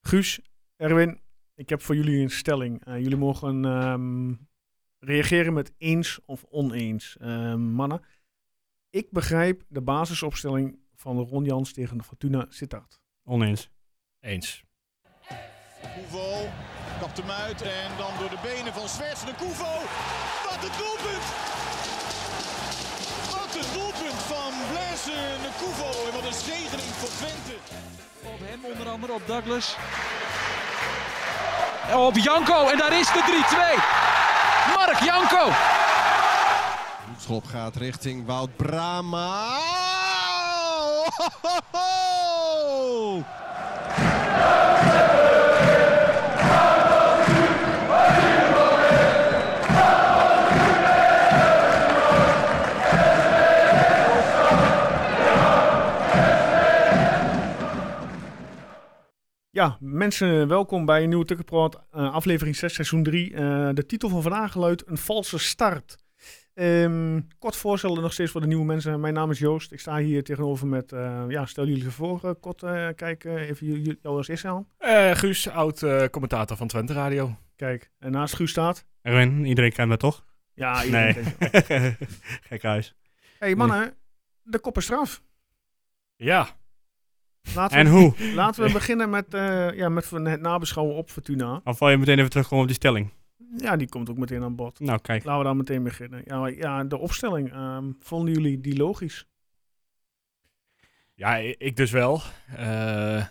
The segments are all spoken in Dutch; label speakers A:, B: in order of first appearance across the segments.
A: Guus, Erwin, ik heb voor jullie een stelling. Eh, jullie mogen ehm, reageren met eens of oneens. Ehm, mannen, ik begrijp de basisopstelling van Ron Jans tegen Fortuna Sittard.
B: Oneens.
C: Eens.
D: Koevo kapt hem uit en dan door de benen van Zwerts de Koevo. Wat een doelpunt! Wat een doelpunt van Blaise de Koevo en wat een zegening voor Twente.
E: Op hem onder andere, op Douglas. En Op Janko, en daar is de 3-2. Mark Janko.
F: Schop gaat richting Wout Brama.
A: Ja, mensen, welkom bij een nieuwe Tukkenproot, eh, aflevering 6, seizoen 3. Eh, de titel van vandaag luidt Een valse start. Ehm, kort voorstellen nog steeds voor de nieuwe mensen. Mijn naam is Joost. Ik sta hier tegenover met, eh, ja, stel jullie voor, eh, kort eh, kijken. Even jullie- jullie- jou als eerste aan.
C: Eh, Guus, oud eh, commentator van Twente Radio.
A: Kijk, en naast Guus staat...
B: Erwin, iedereen kent dat toch?
A: Ja,
B: Nee.
A: iedereen kent je.
B: Gek huis.
A: hey, mannen, de kop is straf.
C: Ja.
A: Laten
B: En
A: we,
B: hoe?
A: laten we beginnen met, eh, ja, met het nabeschouwen op Fortuna.
B: Dan val je meteen even terugkomen op die stelling.
A: Ja, die komt ook meteen aan bod.
B: Nou, kijk.
A: Laten we daar meteen beginnen. Ja, maar- ja de opstelling. ehm, vonden jullie die logisch?
C: Ja, i- ik dus wel. Eh, eh,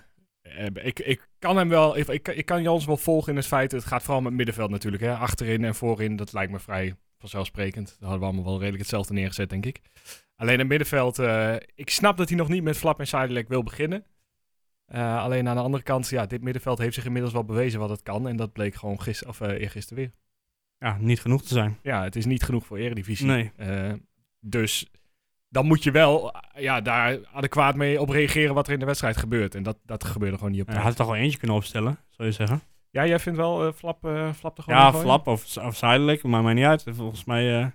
C: ik, ik kan hem wel, ik, ik, ik kan Jans wel volgen in het feit, het gaat vooral met middenveld natuurlijk. Hè. Achterin en voorin, dat lijkt me vrij vanzelfsprekend. Daar hadden we allemaal wel redelijk hetzelfde neergezet, denk ik. Alleen het middenveld, eh, ik snap dat hij nog niet met Flap en Sidelek wil beginnen. Eh, alleen aan de andere kant, ja, dit middenveld heeft zich inmiddels wel bewezen wat het kan. En dat bleek gewoon gisteren, of eh eergisteren weer.
B: Ja, niet genoeg te zijn.
C: Ja, het is niet genoeg voor Eredivisie.
B: Nee.
C: Eh, dus dan moet je wel eh, ja, daar adequaat mee op reageren wat er in de wedstrijd gebeurt. En dat, dat gebeurde gewoon niet op
B: Hij
C: tijd.
B: had er toch wel eentje kunnen opstellen, zou je zeggen.
C: Ja, jij vindt wel eh, Flap, eh Flap er gewoon
B: Ja,
C: in gooien?
B: flap of, of zijdelijk, maakt mij niet uit. Volgens mij... eh,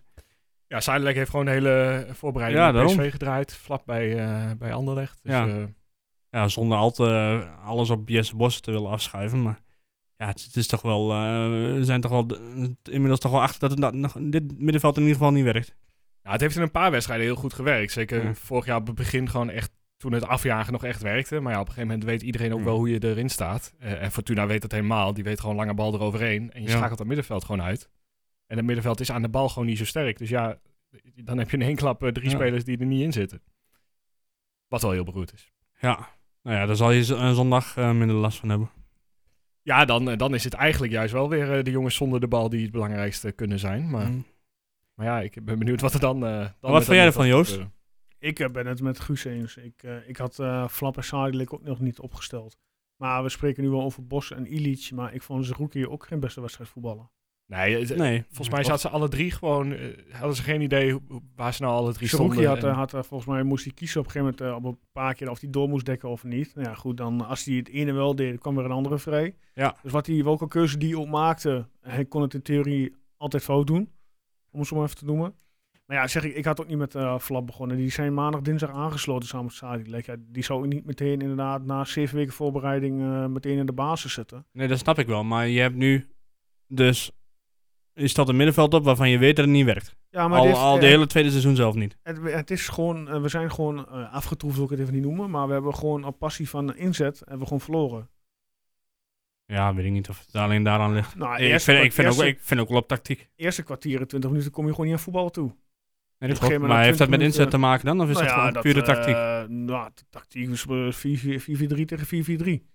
C: Ja, Zuidelijk heeft gewoon de hele voorbereiding
B: Ja,
C: bij PSV
B: daarom.
C: gedraaid. Flap bij, eh, bij Anderlecht. Dus,
B: Ja.
C: eh,
B: ja, zonder al te, alles op Jesse Bos te willen afschuiven. Maar ja, het, het is toch wel. eh, we zijn toch wel de- inmiddels toch wel achter dat, het, dat nog, dit middenveld in ieder geval niet werkt.
C: nou, het heeft in een paar wedstrijden heel goed gewerkt. Zeker
B: Ja.
C: vorig jaar op het begin gewoon echt, toen het afjagen nog echt werkte. Maar ja, op een gegeven moment weet iedereen ook
B: Ja.
C: wel hoe je erin staat. Eh, en Fortuna weet dat helemaal. Die weet gewoon lange bal eroverheen. En je
B: Ja.
C: schakelt dat middenveld gewoon uit. En het middenveld is aan de bal gewoon niet zo sterk. Dus ja, dan heb je in één klap eh, drie
B: Ja.
C: spelers die er niet in zitten. Wat wel heel beroerd is.
B: Ja, nou ja, daar zal je z- eh, zondag eh, minder last van hebben.
C: Ja, dan, eh, dan is het eigenlijk juist wel weer eh, de jongens zonder de bal die het belangrijkste kunnen zijn. Maar,
B: Mm.
C: maar ja, ik ben benieuwd wat er dan... eh, dan met
B: vond
C: dat
B: jij ervan,
C: middenveld
B: Joost?
C: gebeuren.
A: Ik eh, ben het met Guus eens. Ik, eh, ik had eh Flap en Sadelijk ook nog niet opgesteld. Maar we spreken nu wel over Bos en Illich. Maar ik vond Zerouki ook geen beste wedstrijd voetballen.
C: Nee, het-
B: Nee,
C: volgens mij zaten ze alle drie gewoon... eh, hadden ze geen idee hoe- waar ze nou alle drie
A: Zerouki
C: stonden.
A: had,
C: en-
A: eh, had eh, volgens mij moest hij kiezen op een gegeven moment eh, op een paar keer of hij door moest dekken of niet. Nou ja, goed, dan als hij het ene wel deed, kwam er een andere vrij.
B: Ja.
A: Dus wat hij, welke keuze die hij ook maakte, hij kon het in theorie altijd fout doen. Om het zo maar even te noemen. Maar ja, zeg ik, ik had ook niet met eh Flap begonnen. Die zijn maandag, dinsdag aangesloten samen met Sadilek. Ja, die zou ik niet meteen inderdaad na zeven weken voorbereiding eh, meteen in de basis zetten.
B: Nee, dat snap ik wel. Maar je hebt nu dus. Je stelt een middenveld op waarvan je weet dat het niet werkt.
A: Ja,
B: al
A: dit-
B: al de
A: eh,
B: hele tweede seizoen zelf niet.
A: Het, het is gewoon, eh, we zijn gewoon eh, afgetroefd, wil ik het even niet noemen. Maar we hebben gewoon op passie van inzet, hebben we gewoon verloren.
B: Ja, weet ik niet of het alleen daaraan ligt.
A: Nou,
B: ik,
A: eerste
B: vind, ik,
A: kwart-
B: vind ook,
A: eerste-
B: ik vind ook wel op tactiek.
A: eerste kwartieren, 20 minuten, kom je gewoon niet aan voetballen toe.
B: Nee,
A: een
B: dat
A: gegeven
B: klopt.
A: moment
B: Maar
A: na
B: heeft dat
A: 20
B: met inzet te
A: minuten-
B: maken dan? Of is
A: Nou
B: dat
A: ja,
B: gewoon pure
A: eh,
B: tactiek?
A: nou, t- tactiek is eh, 4-4 4-4-3 tegen 4-4-3.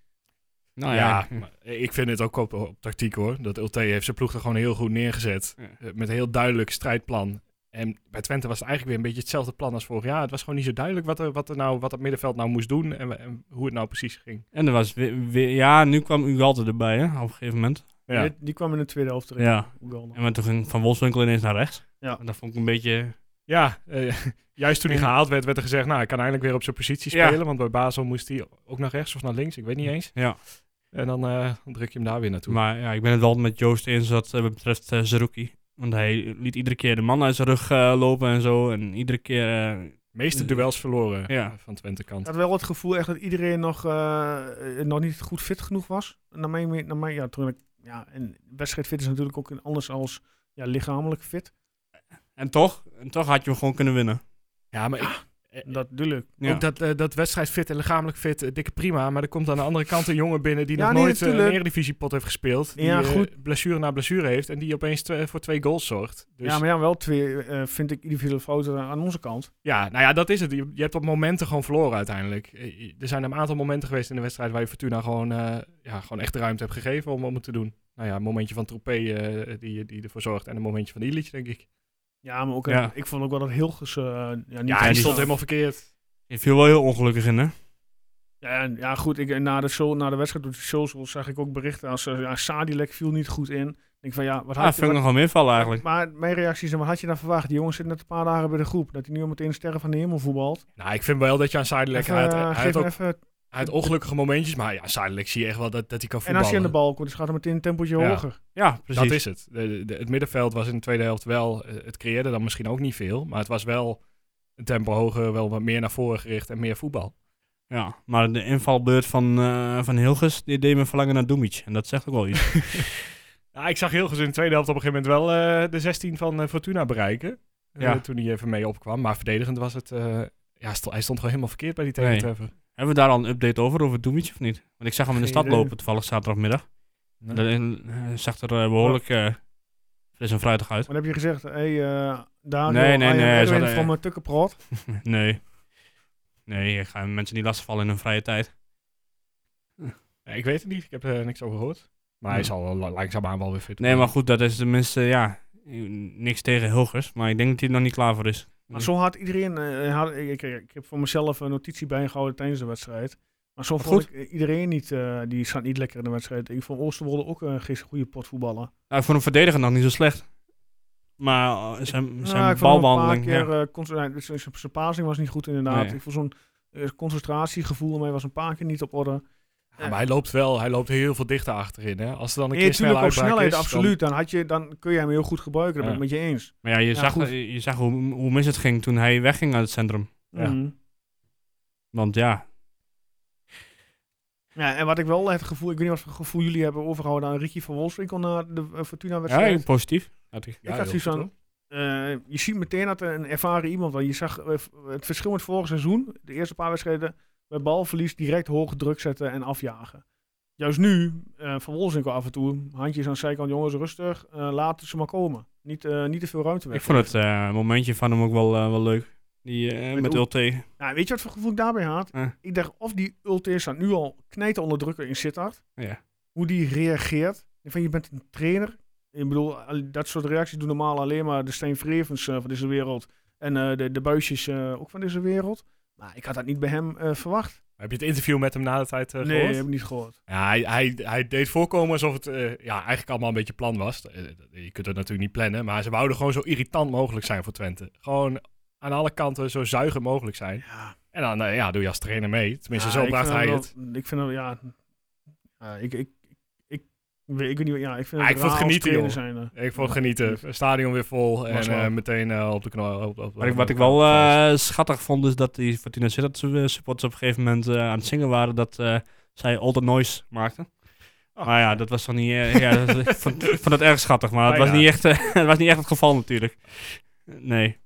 B: nou
C: ja,
B: ja,
C: maar ik vind het ook op, op tactiek hoor. Dat LT heeft zijn ploeg er gewoon heel goed neergezet.
B: Ja.
C: Eh, Met een heel duidelijk strijdplan. En bij Twente was het eigenlijk weer een beetje hetzelfde plan als vorig jaar. Het was gewoon niet zo duidelijk wat, er, wat, er nou, wat het middenveld nou moest doen en, we- en hoe het nou precies ging.
B: En er was weer, weer- ja, nu kwam Ugalte erbij, hè, op een gegeven moment.
C: Ja.
A: Die, die kwam in de tweede helft erin.
B: Ja.
A: Oeganda.
B: En maar toen ging Van Wolfswinkel ineens naar rechts.
A: Ja.
B: En dat vond ik een beetje...
C: Ja, eh, juist toen hij gehaald werd, werd er gezegd, nou, hij kan eindelijk weer op zijn positie
B: Ja.
C: spelen. Want bij Basel moest hij ook naar rechts of naar links, ik weet niet eens.
B: Ja.
C: En dan eh, dan druk je hem daar weer naartoe.
B: Maar ja, ik ben het wel met Joost eens wat eh, betreft eh Zerouki. Want hij liet iedere keer de man uit zijn rug eh, lopen en zo. En iedere keer eh,
C: meeste duels verloren
B: Ja.
C: van Twente kant.
A: Ik had wel het gevoel echt dat iedereen nog, eh, eh, nog niet goed fit genoeg was. Naar mijn, me- naar mijn, ja, toen ik, ja, en wedstrijdfit is natuurlijk ook een- anders als ja, lichamelijk fit.
B: En toch, en toch had je hem gewoon kunnen winnen.
C: Ja, maar ik-
A: Dat natuurlijk.
B: Ja.
C: ook dat, eh, dat wedstrijd fit en lichamelijk fit, eh, dikke prima. Maar er komt aan de andere kant een jongen binnen die
A: Ja,
C: nog
A: nee,
C: nooit eh, een
A: natuurlijk.
C: eredivisiepot heeft gespeeld. Die
A: Ja,
C: eh,
A: goed.
C: blessure na blessure heeft en die opeens twe- voor twee goals zorgt. Dus
A: Ja, maar ja, wel twee, eh, vind ik, individuele fouten aan onze kant.
C: Ja, nou ja, dat is het. Je, je hebt op momenten gewoon verloren uiteindelijk. Eh, je- Er zijn een aantal momenten geweest in de wedstrijd waar je Fortuna gewoon, eh, ja, gewoon echt de ruimte hebt gegeven om, om het te doen. Nou ja, een momentje van Troepé eh, die, die ervoor zorgt en een momentje van Illich, denk ik.
A: Ja, maar ook,
B: Ja.
A: eh, ik vond ook wel dat Hilgers... eh ja, niet goed
C: Ja, die stond
A: was.
C: helemaal verkeerd.
B: Je viel wel heel ongelukkig in, hè?
A: Ja, en- ja goed, ik, en na, de, show- na de wedstrijd op de socials zag ik ook berichten als eh, ja, Sadilek viel niet goed in. Ik denk van ja, wat
B: Ah,
A: had
B: vind ik
A: je...
B: nog wel meevallen
A: Wat,
B: eigenlijk.
A: maar mijn reactie is, dan, wat had je dan verwacht? Die jongen zit net een paar dagen bij de groep. Dat hij nu al meteen sterren van de hemel voetbalt.
C: Nou, ik vind wel dat je aan Sidelek...
A: Even,
C: Hij had,
A: eh,
C: hij
A: geef
C: had
A: hem
C: ook
A: even
C: hij had ongelukkige momentjes, maar ja, Sidelek zie je echt wel dat, dat hij kan
A: En
C: voetballen.
A: als je aan de bal komt, dus gaat het meteen een tempootje
C: Ja.
A: hoger.
B: Ja, precies.
C: Dat is het. De- de- de- het middenveld was in de tweede helft wel... eh, Het creëerde dan misschien ook niet veel, maar het was wel een tempo hoger, wel wat meer naar voren gericht en meer voetbal.
B: Ja, maar de invalbeurt van, eh, van Hilgers, die deed me verlangen naar Dumic. En dat zegt ook wel iets.
C: Ja, ik zag Hilgers in de tweede helft op een gegeven moment wel eh, de 16 van eh, Fortuna bereiken. Eh,
B: Ja.
C: toen hij even mee opkwam. Maar verdedigend was het... eh, ja, sto- hij stond gewoon helemaal verkeerd bij die
B: Nee.
C: tegentreffer.
B: Hebben we daar al een update over, over Dumic of niet? Want ik zag hem in de
A: Geen
B: stad
A: idee.
B: lopen, toevallig zaterdagmiddag.
C: Nee.
B: En, eh, zag er eh, behoorlijk eh, fris en fruitig uit.
A: Maar dan heb je gezegd, hé, hey, eh, Daniel,
B: Nee, nee,
A: I am
B: nee, hij
A: Edwin
B: zat-
A: van mijn tukkenprot.
B: Nee. Nee, ik ga mensen niet lastigvallen in hun vrije tijd.
C: Ja, ik weet het niet. Ik heb er niks over gehoord. Maar hij
B: Nee.
C: zal wel la- langzaamaan wel weer fit
B: Nee, maar goed, dat is tenminste, ja, niks tegen Hilgers. Maar ik denk dat hij er nog niet klaar voor is.
C: Mm.
A: Maar zo had iedereen, eh, had, ik, ik, ik heb voor mezelf een notitie bijgehouden tijdens de wedstrijd. Maar zo vond ik eh, iedereen niet, eh, die staat niet lekker in de wedstrijd. Ik vond Oosterwolde ook eh, gisteren goede pot voetballen.
B: Nou, ik vond hem verdediger nog niet zo slecht. Maar eh, zijn, zijn
A: Ja, ik vond hem een paar
B: balwandeling...
A: keer,
B: ja.
A: eh, cons- nou, dus zijn- zijn passing was niet goed inderdaad.
B: Nee.
A: Ik vond zo'n eh, concentratiegevoel, maar hij was een paar keer niet op orde.
C: Ja, maar hij loopt wel. Hij loopt heel veel dichter achterin. Hè. Als er dan een
A: Nee,
C: keer snel
A: natuurlijk op
C: uitbraak
A: snelheid,
C: is, dan-
A: absoluut. Dan, had je, dan kun je hem heel goed gebruiken, dat ben ik met je eens.
B: Maar ja, je, zag, eh,
A: goed.
B: je je zag hoe, hoe mis het ging toen hij wegging uit het centrum.
C: Ja.
A: Mhm.
B: Want ja,
A: Ja, en wat ik wel het gevoel, ik weet niet wat voor gevoel jullie hebben overgehouden aan Ricky van Wolfswinkel na de eh,
B: ja
A: Fortuna-wedstrijd.
B: ik- positief. Had ik.
A: ik had
C: heel
A: zoiets
C: goed,
A: van,
C: hoor.
A: eh, je ziet meteen dat er een ervaren iemand, want je zag eh, v- het verschil met vorig seizoen, de eerste paar wedstrijden, bij balverlies direct hoog druk zetten en afjagen. Juist nu, eh, van Wolfswinkel af en toe, handjes aan de zijkant, jongens rustig, eh laten ze maar komen. Niet, eh, niet te veel ruimte weg.
B: Ik vond het eh, momentje van hem ook wel, eh, wel leuk. Die, eh,
A: Met
B: met
A: Oe-
B: LT.
A: Nou, weet je wat voor gevoel ik daarbij had?
B: Eh.
A: Ik dacht, of die ulteer staat nu al knijten onder drukken in Sittard.
B: Ja.
A: Hoe die reageert. Ik vind, je bent een trainer. Ik bedoel, al- dat soort reacties doen normaal alleen maar de Steen Vrevens eh, van deze wereld. En eh, de, de buisjes eh, ook van deze wereld. Maar ik had dat niet bij hem eh, verwacht.
C: Heb je het interview met hem na de tijd eh,
A: nee,
C: gehoord?
A: heb ik niet gehoord.
C: Ja, hij, hij, hij deed voorkomen alsof het eh, ja, eigenlijk allemaal een beetje plan was. Eh, Je kunt het natuurlijk niet plannen, maar ze wouden gewoon zo irritant mogelijk zijn voor Twente. Gewoon aan alle kanten zo zuigen mogelijk zijn.
A: Ja.
C: En dan eh, ja, doe je als trainer mee. Tenminste,
A: Ja,
C: zo
A: ik
C: bracht
A: vind
C: hij
A: dat
C: het.
A: wel- Ik vind dat, ja... ja, ik, ik, ik, ik, weet- ik weet niet, ja, ik vind
C: Ah,
A: het
C: ik vond het
A: raar als
C: genieten,
A: trainer
C: joh.
A: zijn. eh.
C: Ik vond het genieten. Stadion weer vol en
A: Was wel.
C: eh, meteen eh, op de knal. Op, op-
B: Wat ik, wat ik wel eh, schattig vond is dat die Fortuna Sittard su- eh, supporters op een gegeven moment eh, aan het zingen waren dat eh, zij All the Noise maakten. maar ja, dat was dan niet... eh, ja, dat- ik vond, ik vond het erg schattig, maar het was,
C: Bijna.
B: niet echt, eh, het was niet echt het geval natuurlijk. Nee,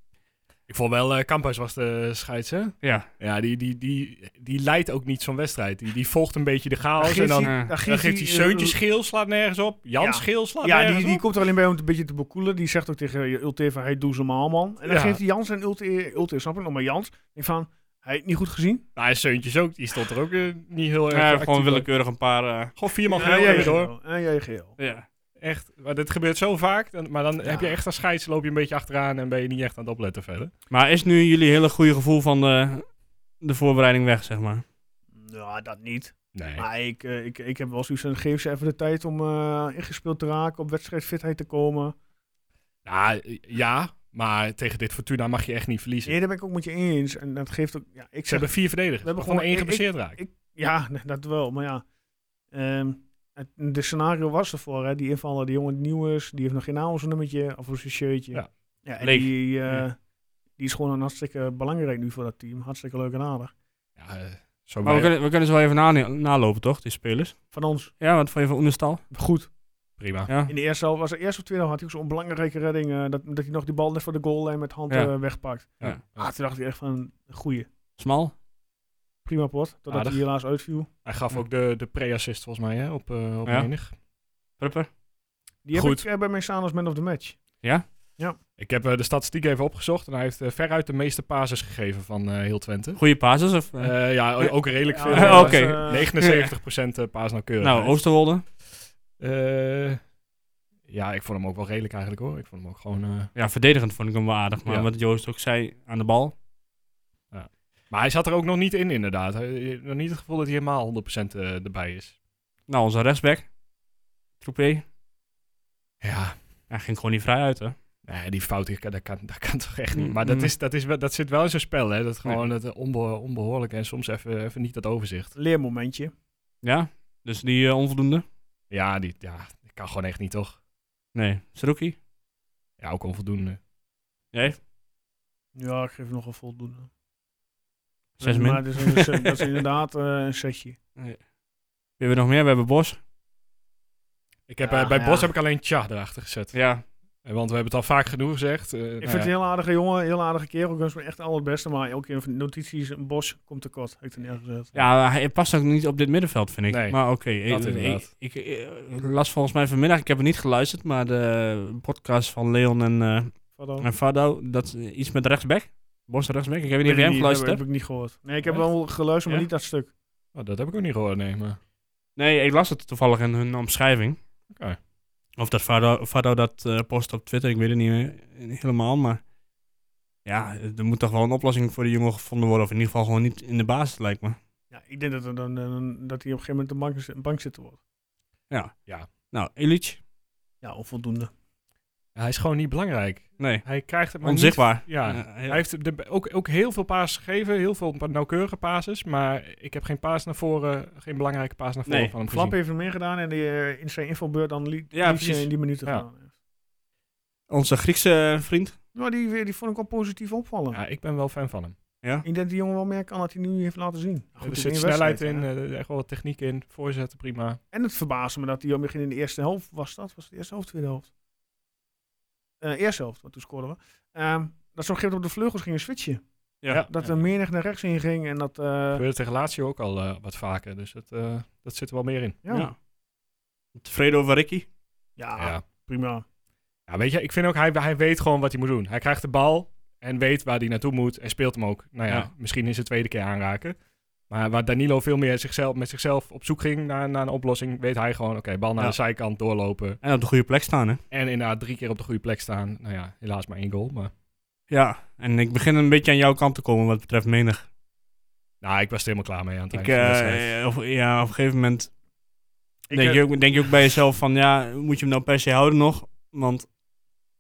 C: ik vond wel, eh Campus was de scheids, hè?
B: ja.
C: Ja, die, die, die, die leidt ook niet zo'n wedstrijd. Die, die volgt een beetje de
A: Dan
C: chaos.
A: geeft
C: En dan,
A: hij-
B: eh,
A: dan
C: dan
A: geeft
C: geeft hij
A: eh,
C: Zeuntje scheel, slaat nergens op. Jan
A: Ja.
C: scheel slaat
A: Ja,
C: nergens
A: die, die
C: op.
A: komt er alleen bij om het een beetje te bekoelen. Die zegt ook tegen je Ulte van, hey, doe ze maar man. En dan
C: Ja.
A: geeft hij Jans en Ulte, Ulte snap ik nog, maar Jans, ik van, hij heeft niet goed gezien.
C: Nou, en Seuntjes ook. Die stond er ook eh, niet heel erg
B: Ja,
C: actief
B: gewoon
C: op.
B: willekeurig een paar... eh,
C: Gewoon vier man
A: en
C: geel
A: jij
C: even door.
A: geel. En jij geel.
B: ja.
C: Echt, maar dit gebeurt zo vaak. Dan, maar dan
A: Ja.
C: heb je echt als scheids, loop je een beetje achteraan en ben je niet echt aan het opletten verder.
B: Maar is nu jullie hele goede gevoel van de, de voorbereiding weg, zeg maar?
A: Ja, dat niet.
C: Nee.
A: Maar ik, eh, ik, ik heb wel zoiets van, geef ze even de tijd om eh, ingespeeld te raken, op wedstrijdfitheid te komen.
C: Nou, ja, maar tegen dit Fortuna mag je echt niet verliezen.
A: Nee, daar ben ik ook met je eens. En dat geeft ook, ja, ik
C: Ze
A: zeg,
C: hebben vier verdedigers. We
A: We hebben
C: hebben gewoon
A: gewoon- ik-
C: één geblesseerd raakt.
A: ik- ja, nee, dat wel, maar ja. Ehm, het, de scenario was ervoor, hè. Die invaller, die jongen die nieuw is, die heeft nog geen naamsnummertje of een shirtje.
C: Ja.
A: ja en
B: Leek.
A: die... eh, Die is gewoon een hartstikke belangrijk nu voor dat team. Hartstikke leuk en aardig.
C: Ja, eh, zo
B: Maar we
C: bij-
B: kunnen, we kunnen ze wel even nane- nalopen, toch? Die spelers.
A: Van ons,
B: Ja, want van je van Oenestal.
A: goed.
C: prima.
B: Ja.
A: In de eerste helft, was de eerste of tweede helft, had hij ook zo'n belangrijke redding. eh, dat, dat hij nog die bal net voor de goallijn met hand
B: Ja.
A: eh, wegpakt.
B: Ja.
A: Ah, toen dacht ik echt van, goeie.
B: Smal.
A: Prima pot. Totdat
C: Aardig.
A: hij helaas uitviel.
C: Hij gaf
B: Ja.
C: ook de, de pre-assist volgens mij hè, op, eh op
B: Ja.
C: menig.
B: Prupper.
A: Die heb
C: Goed.
A: ik eh, bij mij staan als man of the match.
C: Ik heb eh, de statistiek even opgezocht en hij heeft eh, veruit de meeste pases gegeven van eh, heel Twente.
B: Goede basis. Of, eh,
C: Eh, ja, o- ook redelijk veel.
B: Ja,
C: eh,
B: oké.
A: dat was, eh,
C: 79% eh, paasnauwkeurig.
B: nou, Oosterwolde.
C: Eh, ja, ik vond hem ook wel redelijk eigenlijk hoor. Ik vond hem ook gewoon... eh,
B: Ja, verdedigend vond ik hem wel aardig. Maar
C: Ja.
B: wat Joost ook zei aan de bal.
C: Maar hij zat er ook nog niet in inderdaad. Hij- je hebt nog niet het gevoel dat hij helemaal 100% eh, erbij is.
B: Nou, onze rechtsback. Troepé.
C: Ja,
B: Hij ging gewoon niet vrij uit, hè.
C: nee, die fout, die kan- dat kan, dat kan toch echt niet. Maar
B: Mm.
C: dat, is, dat, is, wel- dat zit wel in zijn spel hè. Dat gewoon het eh, onbe onbehoorlijk en soms even, even niet dat overzicht.
A: Leermomentje.
B: Ja. Dus die eh, onvoldoende.
C: Ja, die, ja, die kan gewoon echt niet toch.
B: Nee. Saruki.
C: Ja, ook onvoldoende.
B: Nee.
A: Ja, ik geef hem nog een voldoende.
B: Zes min.
A: maar dat is, een set- dat is inderdaad eh, een setje.
B: Wie hebben we nog meer? We hebben Bos.
C: Ik heb,
A: Ja,
C: eh, bij
A: ja.
C: Bos heb ik alleen Tja erachter gezet.
B: Ja.
C: Eh, Want we hebben het al vaak genoeg gezegd. eh, nou
A: Ik
C: ja.
A: vind het een heel aardige jongen, heel aardige kerel. Ik wens hem echt al het beste. Maar elke keer van de notities, een bos komt tekort. Heb ik er neergezet.
B: Ja, hij past ook niet op dit middenveld, vind ik.
C: Nee,
B: maar oké. ik-
C: dat inderdaad.
B: Ik, ik, ik las volgens mij vanmiddag, ik heb het niet geluisterd, maar de podcast van Leon en, eh,
A: Fado.
C: Oh.
B: en Fado, dat is iets met rechtsback. Bos rechtsback. Ik heb niet
A: Weet
B: of jij
A: ik
B: hem geluisterd
A: eh, heb,
B: hebt.
A: heb ik niet gehoord. Nee, ik heb
C: Echt?
A: wel geluisterd, maar
B: Ja?
A: niet dat stuk.
C: Oh, dat heb ik ook niet gehoord, nee. Maar...
B: Nee, ik las het toevallig in hun omschrijving.
C: Oké.
B: Of dat Fado, Fado dat eh, post op Twitter, ik weet het niet meer helemaal, maar... Ja, eh, er moet toch wel een oplossing voor die jongen gevonden worden. Of in ieder geval gewoon niet in de basis, lijkt me.
A: Ja, ik denk dat, er dan, eh, dan- dat hij op een gegeven moment de bank, zit- bank zit te worden.
B: Nou, Illich?
A: Ja, onvoldoende.
C: Hij is gewoon niet belangrijk.
B: Nee.
C: Hij krijgt het maar
B: Onzichtbaar.
C: niet- ja.
B: Eh,
C: Hij heeft de, ook, ook heel veel paas gegeven, heel veel pa- nauwkeurige pases, maar ik heb geen paas naar voren, geen belangrijke paas naar voren
B: Nee,
C: van hem
A: Flap
C: gezien.
A: heeft er meer gedaan en die, eh, in zijn infobeurt dan liet
B: Ja,
A: liet ze
B: precies.
A: in die minuten
C: Ja.
A: gaan.
B: Onze Griekse vriend.
A: Maar die, die vond ik wel positief opvallen.
C: Ja, ik ben wel fan van hem.
B: Ja.
A: Ik denk dat die jongen wel meer kan dat hij nu heeft laten zien. Goed,
C: er
A: in
C: zit
A: één
C: snelheid
A: wedstrijd,
C: in,
A: hè.
C: eh, echt wel wat techniek in, voorzetten prima.
A: En het verbaasde me dat hij al begin in de eerste helft was. Dat was de eerste helft, tweede helft. Eh, eerste helft, want toen scoorden we. Ehm, dat ze op een gegeven moment op de vleugels gingen switchen.
B: Ja.
A: Dat er menig naar rechts in ging en dat... eh,
C: gebeurde tegen Lazio ook al eh, wat vaker, dus het, eh, dat zit er wel meer in.
A: ja. Ja.
B: Ja. Tevreden over Ricky? Ah.
C: Ja.
A: prima.
C: Ja, weet je, ik vind ook, hij, hij weet gewoon wat hij moet doen. Hij krijgt de bal en weet waar hij naartoe moet en speelt hem ook. Nou ja,
B: Ja.
C: misschien is het tweede keer aanraken. Maar waar Danilo veel meer zichzelf, met zichzelf op zoek ging naar, naar een oplossing, weet hij gewoon, oké, bal naar
B: Ja.
C: de zijkant, doorlopen.
B: En op de goede plek staan, hè?
C: En inderdaad drie keer op de goede plek staan. Nou ja, helaas maar één goal. Maar
B: Ja. En ik begin een beetje aan jouw kant te komen wat betreft menig.
C: nou, ik was er helemaal klaar mee aan het
B: Ik,
C: eind van de
B: eh,
C: wedstrijd.
B: op- ja, op een gegeven moment
A: Ik,
B: denk,
A: eh,
B: je ook, denk je ook bij jezelf van, ja, moet je hem nou per se houden nog? Want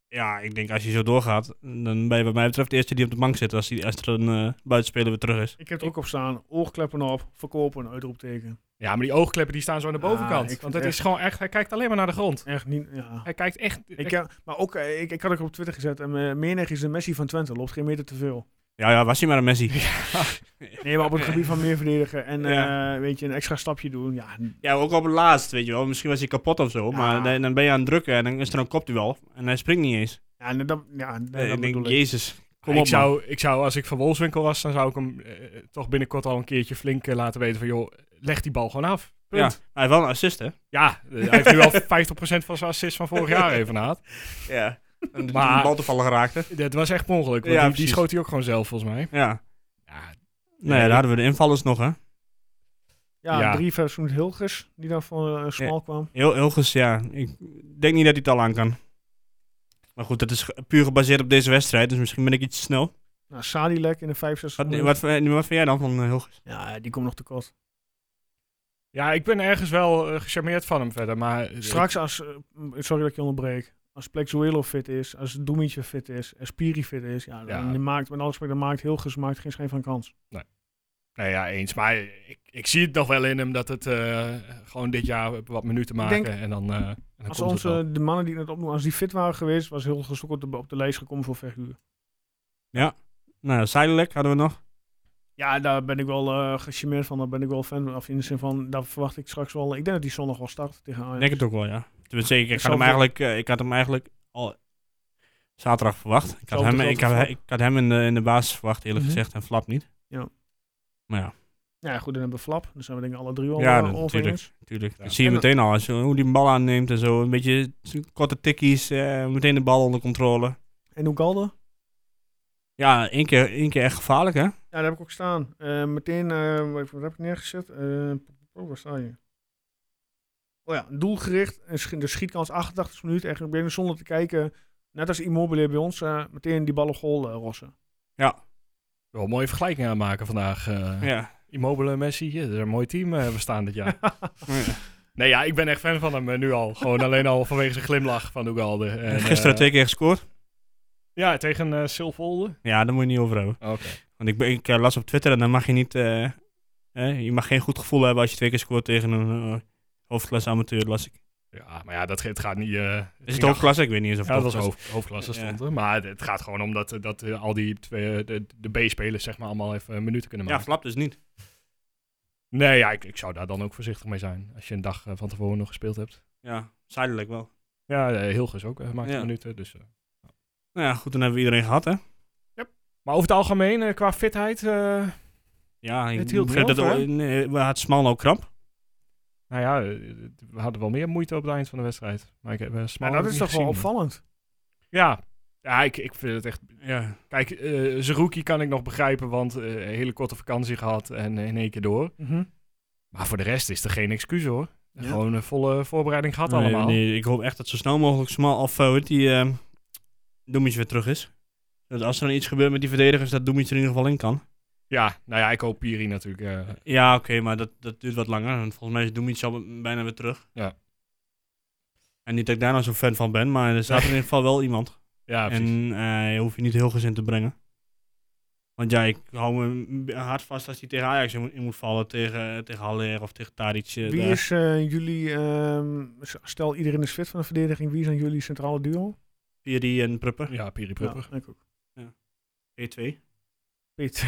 B: ja, ik denk als je zo doorgaat, dan ben je wat mij betreft de eerste die op de bank zit als, die, als er een eh, buitenspeler weer terug is.
A: ik heb er ook op staan. Oogkleppen op, verkopen, uitroepteken.
C: Ja, maar die oogkleppen die staan zo aan de
A: Ah, ik
C: bovenkant.
A: vind
C: want het
A: echt-
C: is gewoon echt, hij kijkt alleen maar naar de grond.
A: Echt niet, ja.
C: Hij kijkt echt...
A: Ik, eh, maar ook, eh, ik, ik had ook op Twitter gezet, en eh, menig is de Messi van Twente, loopt geen meter te veel.
B: Ja, ja, was hij maar een Messi.
A: Nee, maar op het gebied van meer verdedigen en
B: Ja.
A: eh, weet je, een extra stapje doen. Ja,
B: Ja, ook op het laatst, weet je wel. Misschien was hij kapot of zo, maar dan, dan ben je aan het drukken en dan is er een kopduel en hij springt niet eens.
A: ja, en dan, ja, dan,
B: ik denk,
A: bedoel ik.
B: jezus, kom
C: ik,
B: op man.
C: zou, ik zou, als ik van Wolfswinkel was, dan zou ik hem eh, toch binnenkort al een keertje flink eh, laten weten van, joh, leg die bal gewoon af.
B: Ja,
C: Punt.
B: hij heeft wel een assist, hè?
C: Ja, eh, hij heeft nu al 50% van zijn assist van vorig jaar even naad.
B: Ja. En die
C: Maar-
B: bal toevallig raakte.
C: Dat was echt per ongeluk, want
B: Ja,
C: die, die
B: precies.
C: schoot hij ook gewoon zelf volgens mij.
B: Ja.
C: Ja,
B: Nee, daar hadden we de invallers nog, hè?
A: Ja,
C: Ja.
A: drie versus Hilgers, die dan van eh, Smal kwam.
B: Heel Ilges, ja. Ik denk niet dat hij het al aan kan. Maar goed, dat is ge- puur gebaseerd op deze wedstrijd, dus misschien ben ik iets te snel.
A: Nou, Sadilek in de 65
B: Wat,
A: minuten.
B: wat, wat, wat vind jij dan van eh, Hilges?
A: Ja, die komt nog tekort.
C: ja ik ben ergens wel eh, gecharmeerd van hem verder, maar... eh,
A: Straks als, eh, m- sorry dat ik je onderbreek, als Plexuelo fit is, als Doemitje fit is, als Piri fit is, ja, dan
C: Ja.
A: maakt, met alle respect, dan maakt Hilgers maakt geen schijn van kans.
C: Nou ja, eens. Maar ik, ik zie het nog wel in hem dat het eh, gewoon dit jaar wat minuten maken.
A: denk-
C: en dan, eh, en dan
A: Als
C: komt het wel.
A: onze, de mannen die het opnoemen, als die fit waren geweest, was Hilgers ook op de, op de lijst gekomen voor verhuur.
B: Ja. Nou, zijdelijk hadden we nog.
A: Ja, daar ben ik wel eh gecharmeerd van. Daar ben ik wel fan of in de zin van, daar verwacht ik straks wel. Ik denk dat die zondag wel start tegen Ajax.
B: Ik denk het ook wel, ja. Tenminste, ik, ik, had,
A: zou
B: hem
A: voor-
B: eigenlijk, eh, ik had hem eigenlijk al zaterdag verwacht. Ik had,
A: Hetzelfde
B: hem,
A: geldt
B: ik had,
A: voor
B: ik had hem in, de, in de basis verwacht, eerlijk
A: Mhm.
B: gezegd, en Flap niet.
A: Ja.
B: Maar ja,
A: Ja, goed, dan hebben we Flap. Dan zijn we denk ik alle drie eh, al
B: Ja,
A: ja,
B: dat-
A: onverenigd.
B: natuurlijk.
C: Ja.
B: Dat zie je
A: En-
B: meteen al, als je- hoe die een bal aanneemt en zo. Een beetje zo'n korte tikkies, eh, meteen de bal onder controle.
A: En Oegalde?
B: Ja, één keer, één keer echt gevaarlijk, hè?
A: Ja, daar heb ik ook staan. Eh, meteen, eh, wat wat heb ik neergezet? Eh, oh, waar sta je? Oh ja, doelgericht. En sch- de schietkans 88 minuten. Echt, ik ben zonder te kijken. Net als Immobile bij ons, eh, meteen die bal op goal eh, rossen.
C: Wel een mooie vergelijking aanmaken vandaag. eh.
B: Ja.
C: Immobile, Messi, ja, dat is een mooi team eh, we staan dit jaar.
B: Ja.
C: nee, ja, ik ben echt fan van hem eh, nu al. Gewoon alleen al vanwege zijn glimlach van Ugalde. En,
B: Gisteren
C: eh,
B: twee keer gescoord.
C: Ja, tegen eh Silvolde.
B: Ja, daar moet je niet over hebben.
C: Oké.
B: Want ik, ben- ik eh, las op Twitter en dan mag je niet. eh, eh, je mag geen goed gevoel hebben als je twee keer scoort tegen een eh, hoofdklasse amateur, las
C: Dus
B: ik.
C: Ja, maar ja, dat ge- het gaat niet... eh,
B: Is
C: ging
B: het hoofdklasse? Ik weet niet eens of
C: Ja,
B: het
C: dat was
B: hoofdklasse-
C: hoofd, hoofdklasse
B: Ja.
C: stond er. Maar het- het gaat gewoon om dat, eh, dat eh, al die twee, eh, de, de B-spelers zeg maar allemaal even een minuten kunnen
B: Ja,
C: maken.
B: flap dus niet.
C: nee, ja, ik, ik zou daar dan ook voorzichtig mee zijn. Als je een dag eh, van tevoren nog gespeeld hebt.
B: Ja, zijdelijk wel.
C: Ja, eh, Hilgers ook eh, maakt
B: Ja.
C: een minuten. Dus, eh.
B: Nou ja, goed, dan hebben we iedereen gehad, hè?
C: Maar over het algemeen, eh, qua fitheid... eh,
B: Ja, ik
C: Het hield
B: begreep
C: niet
B: dat
C: op, hè?
B: nee, we hadden Smal nou kramp.
C: Nou ja, eh, we hadden wel meer moeite op het eind van de wedstrijd. Maar ik heb eh, Smal
A: Maar dat
C: heb
A: is toch
C: ik niet
A: wel
C: gezien.
A: opvallend.
C: Ja, ja ik, ik vind het echt...
B: Ja.
C: Kijk, eh Zerouki kan ik nog begrijpen, want eh, een hele korte vakantie gehad en eh, in één keer door. Maar voor de rest is er geen excuus hoor.
A: Ja.
C: Gewoon een volle voorbereiding gehad allemaal.
B: Nee, ik hoop echt dat zo snel mogelijk Smal of eh, hoe heet die ehm Doemitje weer terug is. Dat als er dan iets gebeurt met die verdedigers, dat Doemitje er in ieder geval in kan.
C: Ja, nou ja, ik hoop Piri natuurlijk. eh,
B: Ja, oké, maar dat, dat duurt wat langer. Want volgens mij is Doemitje al bijna weer terug.
C: Ja.
B: En niet dat ik daar nou zo'n fan van ben, maar er staat in ieder geval wel iemand.
C: ja,
B: en
C: precies.
B: eh, je hoeft je niet heel gezin te brengen. Want ja, ik hou me hard vast als hij tegen Ajax in moet, in moet vallen. Tegen, tegen Haller of tegen Tadic. eh,
A: Wie
B: daar.
A: is eh, jullie, ehm, s- stel iedereen is fit van de verdediging, wie zijn jullie centrale duo?
B: Piri en Prupper.
C: Ja, Piri Prupper.
A: Ja, ik ook.
B: E2.
A: P2.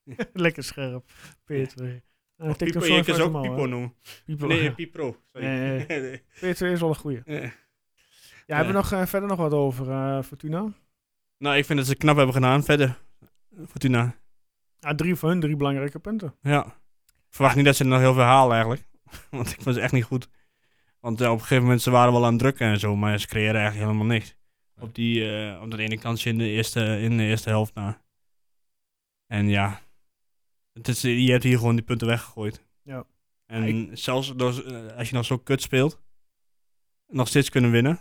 A: Lekker scherp. P2. Uh,
B: Pipo, je kunt ze ook Pipo noemen. Nee, Pipro. Sorry.
A: Nee,
B: Nee.
A: P2 is wel een goeie.
B: Eh.
A: Ja, hebben we nog, eh, verder nog wat over eh, Fortuna?
B: Nou, ik vind dat ze knap hebben gedaan. Verder, eh, Fortuna.
A: Ja, Ah, drie van hun, drie belangrijke punten.
B: Ja. Ik verwacht niet dat ze er nog heel veel halen eigenlijk. Want ik vond ze echt niet goed. Want eh, op een gegeven moment ze waren wel aan het drukken en zo, maar ze creëren eigenlijk helemaal niks. Op, die, eh, op dat ene kansje in de eerste, in de eerste helft na. En ja, het is, je hebt hier gewoon die punten weggegooid.
A: Ja.
B: En zelfs door, z- eh, als je nog zo kut speelt, nog steeds kunnen winnen.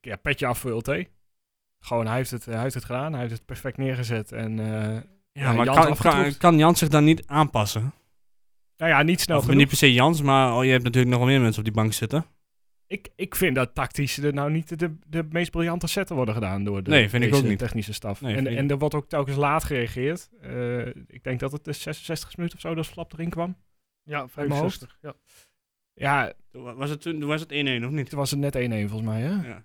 C: Ja, petje af voor LT. Gewoon, hij heeft, het, eh, hij heeft het gedaan. Hij heeft het perfect neergezet. En eh,
B: Ja,
C: Ja,
B: maar
C: Jans
B: kan,
C: afgetroefd.
B: kan, kan Jans zich dan niet aanpassen?
C: nou ja, niet snel
B: of
C: genoeg.
B: niet per se Jans, maar oh, je hebt natuurlijk nog wel meer mensen op die bank zitten.
C: Ik, ik vind dat tactisch er nou niet de, de meest briljante setten worden gedaan door de
B: Nee, vind ik
C: deze
B: ook niet.
C: technische staf.
B: Nee, vind
C: en,
B: ik
C: en
B: niet.
C: er wordt ook telkens laat gereageerd. Eh, ik denk dat het de 66 minuut of zo dat Flap erin kwam.
A: Ja,
C: mijn hoofd.
A: 65. Ja.
C: Ja,
B: Toen Was het, toen was het 1-1 of niet?
C: toen was het net 1-1 volgens mij. Hè?
B: Ja.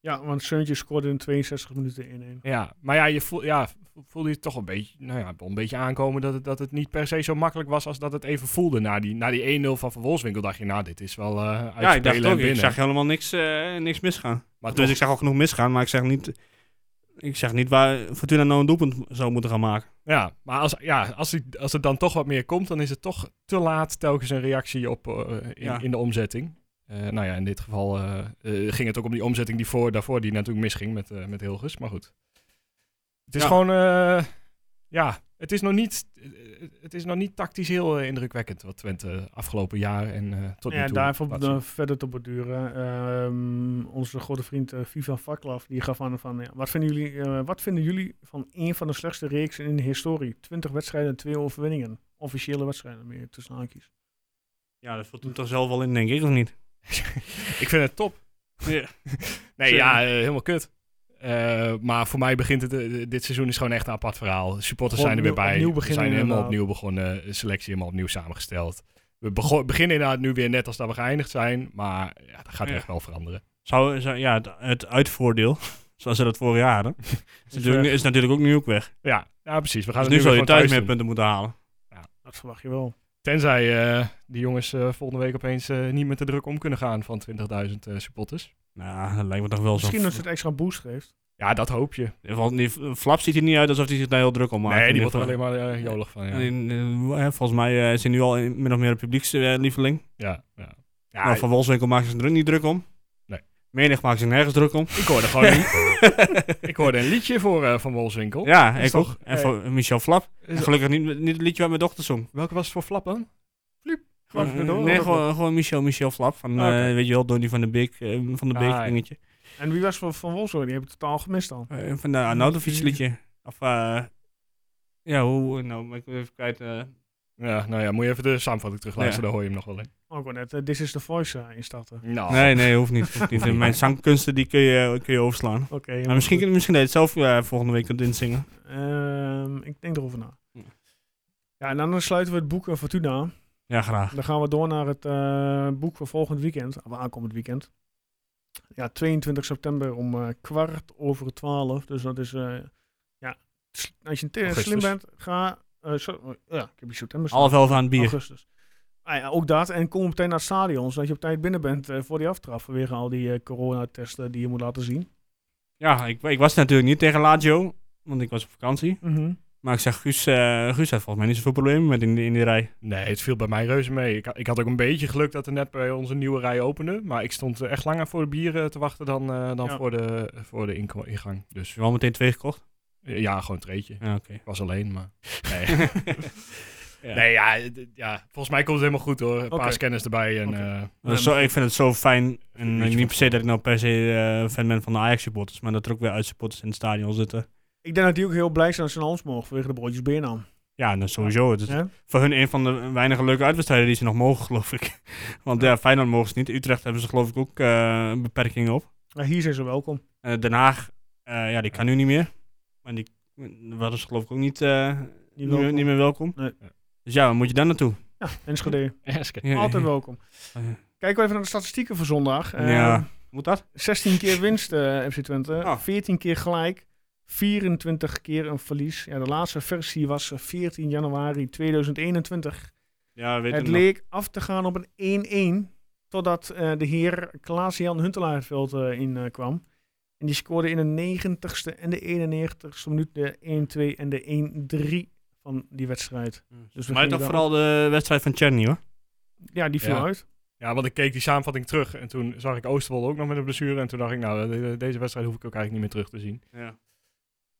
A: ja, want Seuntje scoorde in 62 minuten 1-1.
C: Ja, maar ja, je voel, ja, voelde je toch een beetje, nou ja, wel een beetje aankomen dat het, dat het niet per se zo makkelijk was als dat het even voelde. Na die, na die 1-0 van Van Wolfswinkel dacht je, nou, dit is wel eh uitspelen
B: Ja, ik dacht
C: en
B: ook. Ik
C: winnen.
B: zag helemaal niks, eh, niks misgaan.
C: maar
B: dus
C: toch,
B: ik zag al genoeg misgaan, maar ik zeg niet, ik zeg niet waar Fortuna nou een doelpunt zou moeten gaan maken.
C: ja, maar als, ja, als, die- als het dan toch wat meer komt, dan is het toch te laat telkens een reactie op eh, in,
B: Ja.
C: in de omzetting. Eh, nou ja, in dit geval eh, eh, ging het ook om die omzetting die voor, daarvoor die natuurlijk misging met, eh met Hilgers. Maar goed. Het is
B: Ja.
C: gewoon, eh, ja, het is, nog niet, eh, het is nog niet tactisch heel eh, indrukwekkend wat Twente afgelopen jaar en eh, tot nu
A: Ja,
C: toe.
A: daarvoor
C: laat
A: dan
C: zien.
A: verder te borduren. Ehm, onze goede vriend eh, Viva Vaklav, die gaf aan van... Ja, wat, vinden jullie, eh, wat vinden jullie van een van de slechtste reeksen in de historie? 20 wedstrijden, twee overwinningen. Officiële wedstrijden, meer tussen haakjes.
B: Ja, dat viel toen toch zelf wel in, denk ik, of niet?
C: Ik vind het top.
B: Ja.
C: Nee, ja, eh, helemaal kut. Eh, maar voor mij begint het, eh, dit seizoen is gewoon echt een apart verhaal. Supporters
A: Gewoon
C: zijn er weer
A: opnieuw-
C: bij.
A: opnieuw
C: we
A: beginnen
C: zijn helemaal
A: inderdaad.
C: opnieuw begonnen. De Selectie helemaal opnieuw samengesteld. We bego- beginnen inderdaad nu weer net als dat we geëindigd zijn. Maar ja, dat gaat
B: Ja. eh,
C: echt wel veranderen.
B: Zou, zou- ja, het, het uitvoordeel Zoals ze dat vorig jaar hadden. Is, natuurlijk, is natuurlijk ook nu ook weg.
C: Ja, ja precies. We gaan
B: Dus
C: het
B: nu zou
C: nu weer
B: je
C: gewoon thuis
B: thuis meer
C: doen.
B: punten moeten halen.
A: Dat verwacht je wel.
C: Tenzij eh, die jongens eh, volgende week opeens eh, niet met de druk om kunnen gaan van 20.000 eh, supporters.
B: Nou, dat lijkt me toch wel zo.
A: Misschien dat ze het extra boost geeft.
C: Ja, dat hoop je.
B: Want die Flap ziet er niet uit alsof hij zich daar heel druk om maakt.
C: nee,
B: In
C: die
B: ieder
C: wordt er
B: geval.
C: alleen maar eh, jolig van. Ja,
B: En, eh, eh, volgens mij eh, is hij nu al in- min of meer een publiekslieveling.
C: ja. ja. ja
B: Nou, van Wolfswinkel maakt zich er niet druk om.
C: Nee.
B: Menig maakt zich nergens druk om.
C: ik hoorde gewoon een, ik hoorde een liedje voor eh, Van Wolfswinkel.
B: Ja,
C: Is
B: ik
C: toch-
B: ook. En voor Michel Flap. En
C: Is-
B: gelukkig niet, niet het liedje waar mijn dochter zong.
C: Welke was het voor Flap dan?
B: Gewoon,
C: Gewoon door-
B: nee,
C: door-
B: gewoon, gewoon Michel, Michel Flap. Van,
C: Ah, oké.
B: eh, weet je wel, Donny van de Beek, eh, van de
C: Ah,
B: Beek
C: ja.
B: dingetje.
A: En wie was van, van Wolfsburg? Die heb ik totaal gemist dan.
B: Eh, van de Arnautovic liedje. Of, eh, ja, hoe, nou, ben ik even kwijt. eh.
C: Ja, nou ja, moet je even de samenvatting terugluisteren,
B: Ja.
C: dan hoor je hem nog wel in.
A: Ook wel net eh, This is the Voice eh, instarten.
C: Nou,
B: Nee, nee, hoeft niet. Hoeft niet. Mijn zangkunsten, die kun je, kun je overslaan.
C: Oh,
A: Oké.
B: Maar
A: helemaal
B: misschien,
A: goed.
B: misschien dat je het zelf eh, volgende week kunt inzingen.
A: Ehm, ik denk erover na.
B: Ja.
A: Ja, en dan sluiten we het boek eh, Fortuna aan.
B: Ja, graag.
A: Dan gaan we door naar het eh, boek voor volgend weekend. Of aankomend weekend. Ja, 22 september om eh, kwart over twaalf. Dus dat is, eh, ja, s- als je te-
C: Augustus.
A: slim bent, ga... eh, zo- ja, ik heb hier september staan.
B: Half elf aan het
C: Oh,
B: bier.
A: Augustus. Ah ja, ook dat. En kom meteen naar het stadion, zodat je op tijd binnen bent eh, voor die aftrap. Vanwege al die eh, coronatesten die je moet laten zien.
B: Ja, ik, ik was natuurlijk niet tegen Lazio, want ik was op vakantie. Maar ik zeg, Guus, eh, Guus had volgens mij niet zoveel problemen met in, die- in die rij.
C: nee, het viel bij mij reuze mee. Ik, ha- ik had ook een beetje geluk dat er net bij onze nieuwe rij opende. Maar ik stond eh, echt langer voor de bieren te wachten dan, eh, dan
A: Ja.
C: voor de, voor de inko- ingang. Dus
B: Heb je wel meteen twee gekocht?
C: eh, ja, gewoon een treetje.
B: Ja, oké.
C: Ik was alleen, maar... Nee. Nee, ja, d- ja, volgens mij komt het helemaal goed hoor. Een paar
A: Oké.
C: scanners erbij en...
A: Oké.
C: eh,
B: Dat is zo, ik vind het zo fijn. En
C: Beetje
B: ik niet per se dat ik nou per se eh, fan ben van de Ajax-supporters, maar dat er ook weer uit-supporters in het stadion zitten.
A: Ik denk dat die ook heel blij zijn dat ze naar ons mogen vanwege de broodjes Beernam.
B: Ja, en dat is sowieso. Het is
A: Hè?
B: voor hun een van de weinige leuke uitwedstrijden die ze nog mogen, geloof ik. Want ja, Feyenoord mogen ze niet. Utrecht hebben ze geloof ik ook eh, beperkingen op.
A: Ja, Nou, hier zijn ze welkom.
B: Eh, Den Haag, eh, ja, die kan nu niet meer. Maar die was dus geloof ik ook niet, eh, niet, meer,
A: welkom.
B: niet meer welkom.
A: Nee.
B: Dus ja, waar moet je dan naartoe?
A: Ja, Enschede.
B: Ja, Oh,
A: Altijd welkom.
B: ja.
A: Kijken we even naar de statistieken voor zondag. Eh,
B: Ja. Moet dat?
A: 16 keer winst eh, FC Twente.
B: Ah.
A: 14 keer gelijk. 24 keer een verlies. Ja, de laatste versie was eh, 14 januari 2021.
B: Ja, weet
A: Het
B: ik nog.
A: leek af te gaan op een 1-1. Totdat eh, de heer Klaas-Jan Huntelaar het veld eh, in eh, kwam. En die scoorde in de 90ste en de 91ste minuut de 1-2 en de 1-3 van die wedstrijd. Dus we
B: Maar
A: gingen
B: toch
A: daar-
B: vooral de wedstrijd van Cherny hoor.
A: Ja, die viel
C: Ja.
A: uit.
C: ja, want ik keek die samenvatting terug en toen zag ik Oosterwolde ook nog met een blessure. En toen dacht ik, nou, de- deze wedstrijd hoef ik ook eigenlijk niet meer terug te zien.
B: Ja.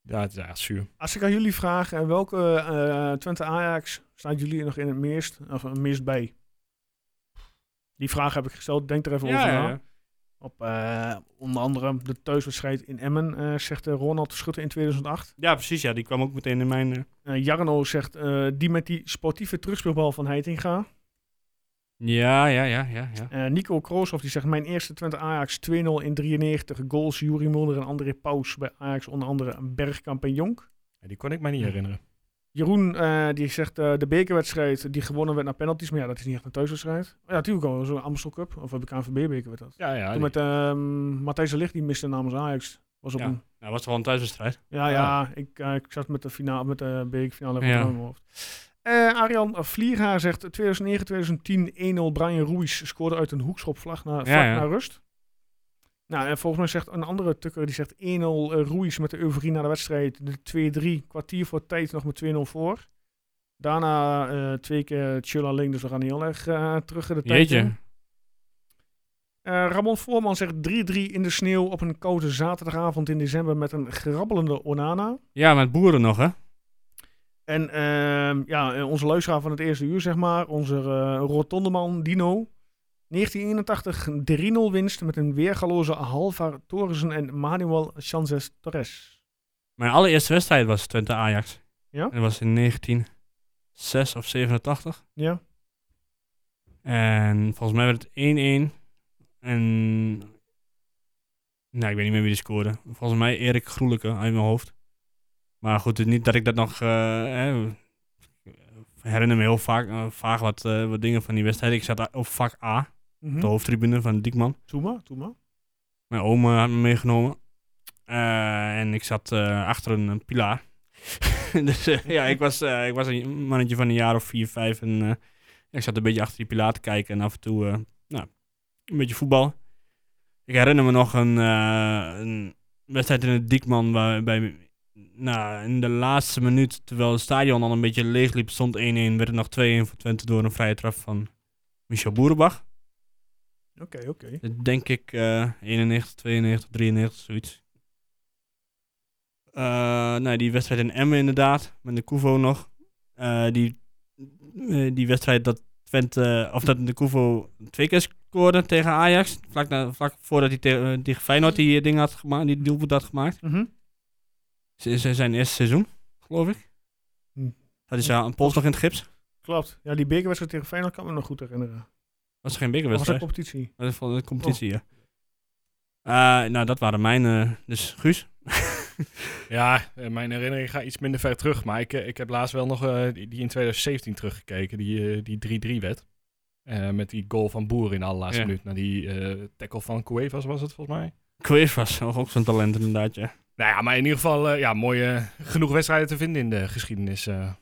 C: Ja, het is echt zuur.
A: Als ik aan jullie vraag, eh, welke eh, Twente Ajax staat jullie nog in het meest, of het meest bij? Die vraag heb ik gesteld. Denk er even over na.
B: nou?
A: Op, eh, onder andere de thuiswedstrijd in Emmen, eh, zegt eh, Ronald Schutte in 2008.
B: Ja, precies. Ja, die kwam ook meteen in mijn... eh,
A: Eh, Jarno zegt, eh, die met die sportieve terugspeelbal van Heitinga.
B: Ja, ja, ja, ja. ja.
A: Eh, Nico Krooshoff die zegt, mijn eerste Twente Ajax 2-0 in 93. Goals Juri Mulder en André Paus bij Ajax, onder andere Bergkamp en Jonk.
C: Ja, die kon ik mij niet herinneren.
A: Jeroen eh, die zegt, eh, de bekerwedstrijd die gewonnen werd naar penalties. Maar ja, dat is niet echt een thuiswedstrijd. Oh Ja, natuurlijk wel zo'n Amstel Cup. Of heb ik KNVB-beker werd dat.
C: Ja, ja.
A: Toen met ehm Matthijs de Ligt, die miste namens Ajax. Was op
B: Ja.
A: een-
B: Nou, was toch wel een thuiswedstrijd?
A: Ja, ja, ik, eh, ik zat met de, finale, met de bekerfinale van
B: Ah. Ja.
A: mijn hoofd. Eh, Arjan Vlierhaar zegt 2009-2010 1-0 Brian Ruiz scoorde uit een hoekschopvlag naar, vlak
B: ja.
A: naar rust. Nou, en volgens mij zegt een andere tukker, die zegt 1-0 eh, Ruiz met de euforie na de wedstrijd. De 2-3, kwartier voor tijd nog met 2-0 voor. Daarna eh, twee keer Chula Ling, dus we gaan heel erg eh, terug in de tijd. in.
B: Jeetje.
A: Eh, Ramon Voorman zegt 3-3 in de sneeuw op een koude zaterdagavond in december met een grabbelende Onana.
B: Ja, met boeren nog, hè?
A: En ehm, ja, eh, onze luisteraar van het eerste uur, zeg maar, onze eh, rotondeman Dino. 1981 een 3-0 winst met een weergaloze Halvar Torresen en Manuel Sanchez Torres.
B: Mijn allereerste wedstrijd was Twente-Ajax.
A: Ja?
B: En dat was in 1986 of 87.
A: Ja,
B: En volgens mij werd het 1-1. En. Nou, ik weet niet meer wie die scoorde. Volgens mij Erik Groeleke uit mijn hoofd. Maar goed, het is niet dat ik dat nog. eh, eh, herinner me heel vaak, eh, vaag wat, eh, wat dingen van die wedstrijd. Ik zat op vak A,
A: Mhm.
B: de hoofdtribune van Diekman.
A: Doe maar, doe maar.
B: Mijn oma had me meegenomen. Eh, en ik zat eh, achter een, een pilaar. dus eh, ja, ik was, eh, ik was een mannetje van een jaar of vier, vijf. En eh, ik zat een beetje achter die pilaar te kijken. En af en toe eh, nou, een beetje voetbal. Ik herinner me nog een, eh, een wedstrijd in het Diekman. Waarbij nou, in de laatste minuut, terwijl het stadion al een beetje leeg liep, stond 1-1. Werd het nog 2-1 voor Twente door een vrije trap van Michel Boerenbach.
A: Oké, oké.
B: Denk ik eh 91, 92, 93, zoiets. Eh nou, die wedstrijd in Emmen inderdaad, met de Kuvo nog. Eh, die, eh, die wedstrijd dat Twente, of dat de Kuvo twee keer scoorde tegen Ajax. Vlak, na, vlak voordat hij tegen eh, tegen Feyenoord die eh, ding had gemaakt, die doelpunt had gemaakt.
A: Mhm.
B: Z- z- Zijn eerste seizoen, geloof ik.
A: Hm.
B: Had hij zijn een pols nog in het gips?
A: Klopt. Ja, die bekerwedstrijd tegen Feyenoord kan me nog goed herinneren.
B: Was er geen
A: Dat was Oh. een
B: bekerwedstrijd?
A: competitie.
B: Dat is van de competitie, ja. Eh, nou, dat waren mijn, eh, dus Guus.
C: Ja, eh, mijn herinnering gaat iets minder ver terug. Maar ik, eh, ik heb laatst wel nog eh, die die in 2017 teruggekeken. Die eh, die 3-3 werd. Eh, met die goal van Boer in de allerlaatste
B: Ja.
C: minuut. Na die eh, tackle van Cuevas was het volgens mij.
B: Quiz was nog ook zo'n talent inderdaad, ja.
C: Nou ja, maar in ieder geval eh, ja, mooie, genoeg wedstrijden te vinden in de geschiedenis eh,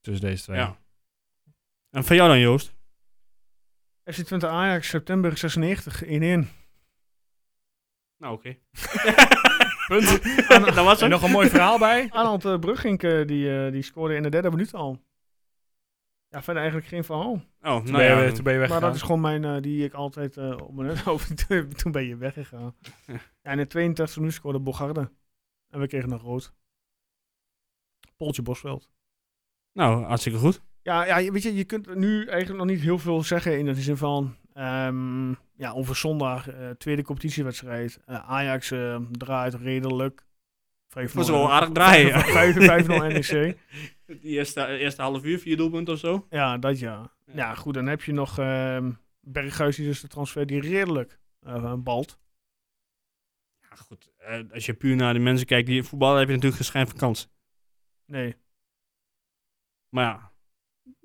C: tussen deze twee.
B: Ja. En van jou dan, Joost?
A: FC Twente Ajax, september 96, 1-1.
B: Nou, oké.
C: Punt.
B: dat was
C: En
B: hem.
C: nog een mooi verhaal bij.
A: Arnold eh, Brugink eh, die, eh, die scoorde in de derde minuut al. Ja, verder eigenlijk geen verhaal.
B: Oh,
C: Toen,
B: nou
C: ben,
B: ja.
C: je, toen ben je
A: Maar
C: weggegaan.
A: dat is gewoon mijn, eh, die ik altijd eh, op mijn hoofd. Toen ben je weggegaan.
B: Ja.
A: Ja, in de 32e minuut scoorde Bogarde. En we kregen nog rood. Poltje Bosveld.
B: Nou, hartstikke goed.
A: Ja, ja, je- weet je, je kunt nu eigenlijk nog niet heel veel zeggen in de zin van... ehm, ja, over zondag, eh, tweede competitiewedstrijd. Eh, Ajax eh, draait redelijk.
B: Het was wel
A: E
B: aardig draaien.
A: 5-0 NEC.
B: De eerste, eerste half uur, vier doelpunten of zo.
A: Ja, dat ja.
B: Ja.
A: Ja, goed, dan heb je nog ehm Berghuis, die dus de transfer die redelijk eh, balt.
B: Ja, goed. eh, als je puur naar de mensen kijkt die voetballen, heb je natuurlijk geen schijn van kans.
A: Nee,
B: Maar ja.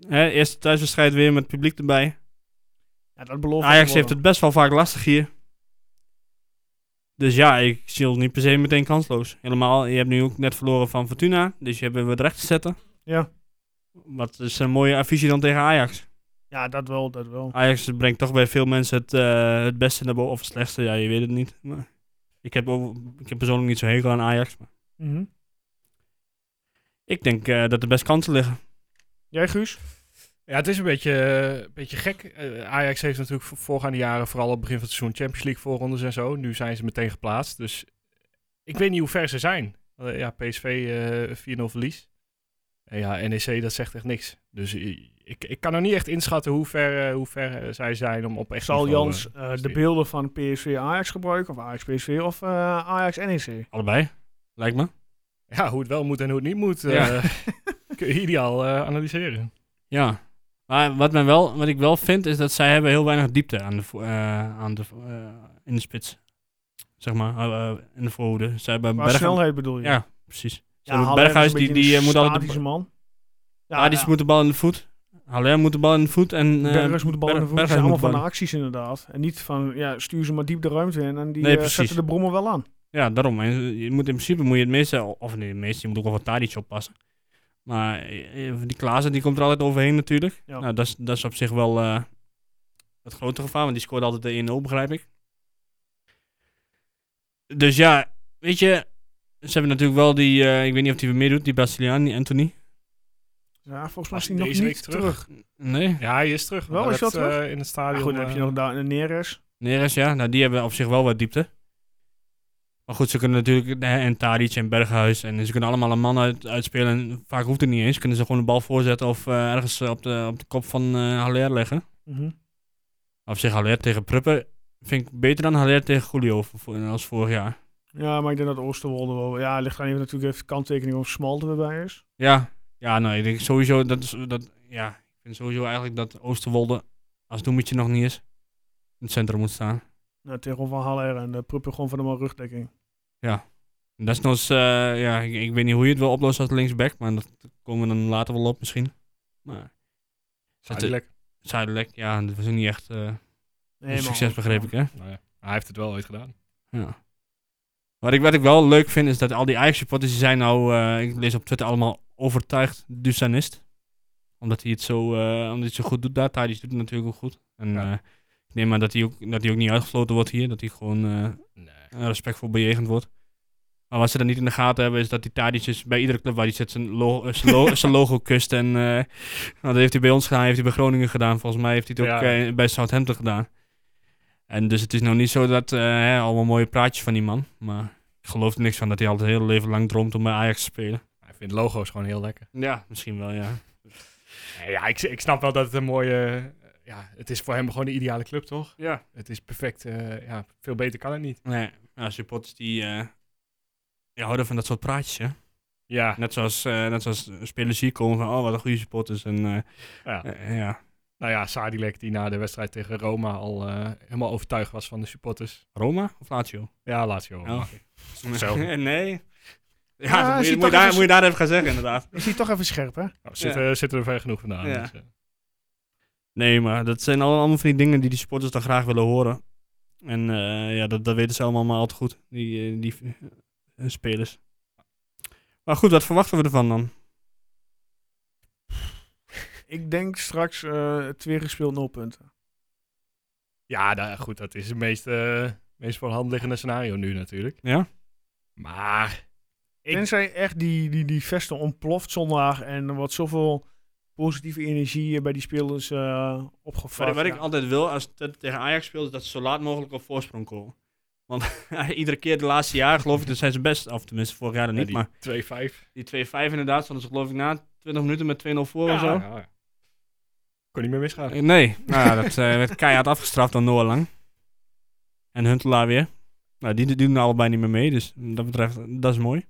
B: Hè, eerste thuiswedstrijd weer met publiek erbij.
A: ja, dat belooft
B: Ajax
A: wel.
B: heeft het best wel vaak lastig hier. Dus ja, ik zie ons niet per se meteen kansloos. Helemaal, je hebt nu ook net verloren van Fortuna. Dus je hebt weer wat recht te zetten.
A: Ja.
B: Wat is een mooie affiche dan tegen Ajax.
A: ja, dat wel, dat wel.
B: Ajax brengt toch bij veel mensen het, eh, het beste naar boven. Of het slechtste, ja, je weet het niet. Maar ik, heb ook- ik heb persoonlijk niet zo hekel aan Ajax. Maar
A: Mhm.
B: ik denk eh, dat er best kansen liggen.
A: Jij, Guus?
C: Ja, het is een beetje, eh, een beetje gek. Eh, Ajax heeft natuurlijk voor- voorgaande jaren, vooral op het begin van het seizoen, Champions League voorrondes en zo. Nu zijn ze meteen geplaatst. Dus ik weet niet hoe ver ze zijn. Eh, ja, PSV eh 4-0 verlies. En ja, NEC, dat zegt echt niks. Dus i- ik, ik kan nog niet echt inschatten hoe ver, eh, hoe ver eh, zij zijn om op echt
A: Zal
C: niveau,
A: Jans
C: eh,
A: eh, de
C: presteren.
A: beelden van PSV Ajax gebruiken? Of Ajax PSV of eh, Ajax NEC?
B: Allebei, lijkt me.
C: eh, Ja, hoe het wel moet en hoe het niet moet, eh,
B: Ja.
C: kun je ideaal eh, analyseren.
B: Ja. Maar wat, men wel, wat ik wel vind, is dat zij hebben heel weinig diepte aan de, vo- eh, aan de, vo- eh, in de spits. Zeg maar, eh, eh, in de voorhoede. Ze hebben
A: Qua
B: Berghuis-
A: snelheid bedoel je?
B: Ja, precies. Ze hebben
A: Haller
B: Berghuis,
A: is een
B: die,
A: beetje
B: die eh,
A: een
B: moet altijd... de
A: statische
B: ba-
A: man. Ja,
B: Tadic
A: ja.
B: moet de bal in de voet. Haller moet de bal in de voet. En, eh,
A: Berghuis moet de bal in de
B: Berg-
A: voet. Het
B: Berghuis
A: zijn allemaal
B: moet
A: van
B: de
A: de
B: bal-
A: acties inderdaad. En niet van, ja, stuur ze maar diep de ruimte in. En die
B: Nee,
A: eh,
B: precies.
A: zetten de brommen wel aan.
B: Ja, daarom. En je moet in principe moet je het meeste, of nee, het meeste, je moet ook wel wat Tadic oppassen. Maar eh, eh, die Klaassen, die komt er altijd overheen natuurlijk.
A: Ja.
B: Nou, dat is, dat is op zich wel eh, het grote gevaar, want die scoort altijd de 1-0, begrijp ik. Dus ja, weet je, ze hebben natuurlijk wel die, eh, ik weet niet of die weer meedoet, die Braziliaan, die Anthony.
A: Ja, volgens mij
C: Was
A: is die nog
C: deze week
A: niet
C: terug?
A: terug.
B: Nee,
C: Ja, hij is terug.
A: Wel,
C: Hij
A: is
C: werd,
A: dat terug?
C: eh, in het stadion.
A: Maar goed, dan heb je
C: eh,
A: nog daar een Neres.
B: Neres, ja. Nou, die hebben op zich wel wat diepte. Maar goed, ze kunnen natuurlijk, hè, en Tadic en Berghuis, en ze kunnen allemaal een man uit, uitspelen. En vaak hoeft het niet eens. Kunnen ze gewoon de bal voorzetten of eh, ergens eh, op, de, op de kop van eh Haller leggen.
A: Mhm.
B: Op zich, Haller tegen Pruppen vind ik beter dan Haller tegen Julio voor- voor- als vorig jaar.
A: Ja, maar ik denk dat Oosterwolde wel... Ja, ligt aan even natuurlijk even kanttekening of Smalt er weer bij is.
B: Ja, ja, nou, ik denk sowieso, dat is, dat, ja, ik vind sowieso eigenlijk dat Oosterwolde als doemetje nog niet is. In het centrum moet staan.
A: Nou, tegen Van Haller en de Pruppen gewoon van helemaal rugdekking.
B: En Dat is nog eens, eh, ja, ik, ik weet niet hoe je het wil oplossen als linksback, maar dat komen we dan later wel op misschien. Maar
C: Zuidelijk.
B: Zuidelijk, ja, dat was ook niet echt eh,
A: Nee,
B: een
A: man.
B: succes, begreep ik, hè?
C: Nou ja, hij heeft het wel ooit gedaan.
B: Ja. Wat ik, wat ik wel leuk vind is dat al die Ajax-supporters die zijn nou, eh, ik lees op Twitter allemaal overtuigd Dusanist. Omdat hij het zo, eh, omdat hij het zo goed doet daar. Tadic doet het natuurlijk ook goed. En
C: Ja.
B: eh, ik neem maar dat hij, ook, dat hij ook niet uitgesloten wordt hier. Dat hij gewoon eh,
C: Nee.
B: eh, respectvol bejegend wordt. Maar wat ze dan niet in de gaten hebben is dat die Tadic is bij iedere club waar hij zit zijn, lo- eh, zijn, lo- zijn logo kust. En eh, nou, dat heeft hij bij ons gedaan, heeft hij bij Groningen gedaan. Volgens mij heeft hij het ook
C: Ja.
B: eh, bij Southampton gedaan. En dus het is nou niet zo dat, eh, hè, allemaal mooie praatjes van die man. Maar ik geloof er niks van dat hij al het hele leven lang droomt om bij Ajax te spelen.
C: Hij vindt logo's gewoon heel lekker.
B: Ja, misschien wel, ja.
C: Nee, Ja, ik, ik snap wel dat het een mooie... eh, Ja, het is voor hem gewoon de ideale club, toch?
B: Ja.
C: Het is perfect. eh, ja, veel beter kan het niet.
B: Nee, ja, supporters die, eh die houden van dat soort praatjes, hè.
C: Ja,
B: Net zoals, eh, net zoals spelers hier komen van, oh, wat een goede supporters. En eh,
C: ja.
B: eh, ja,
C: nou ja, Sadilek die na de wedstrijd tegen Roma al eh, helemaal overtuigd was van de supporters.
B: Roma of Lazio?
C: Ja, Lazio.
B: Oh.
C: Zo.
B: nee. Ja,
A: Ja,
B: dat moet,
A: zie
B: je,
A: toch
B: moet, je daar,
A: even-
B: moet je daar even gaan zeggen, inderdaad.
A: Is hij toch even scherp, hè?
C: Nou, zitten, zitten er ver genoeg vandaan.
B: Ja.
C: dus, eh.
B: Nee, maar dat zijn al- allemaal van die dingen die die supporters dan graag willen horen. En eh, ja, dat, dat weten ze allemaal maar al te goed, die, eh, die eh, spelers. Maar goed, wat verwachten we ervan dan?
A: Ik denk straks eh, het weer gespeeld 0 punten.
C: Ja, nou, goed, dat is het meest, eh, meest voor de hand liggende scenario nu natuurlijk.
B: Ja?
C: Maar Ik-
A: Tenzij echt die, die, die vesten ontploft zondag en er wordt zoveel positieve energie eh, bij die spelers eh
B: Wat,
A: opgevat.
B: wat ik
A: Ja.
B: altijd wil als het tegen Ajax speelt, is dat ze zo laat mogelijk op voorsprong komen. Want iedere keer de laatste jaren, geloof ik, dat zijn ze best, of tenminste vorig jaar dan
C: ja,
B: niet, maar
C: eh, die 2-5.
B: die 2-5 inderdaad, stonden ze geloof ik na 20 minuten met 2-0 voor of zo.
C: Ja. Kon niet meer misgaan.
B: Eh, Nee, nou, ja, dat eh, werd keihard afgestraft door Noah Lang. En Huntelaar weer. Nou, die, die doen allebei niet meer mee, dus wat dat betreft, eh, dat is mooi.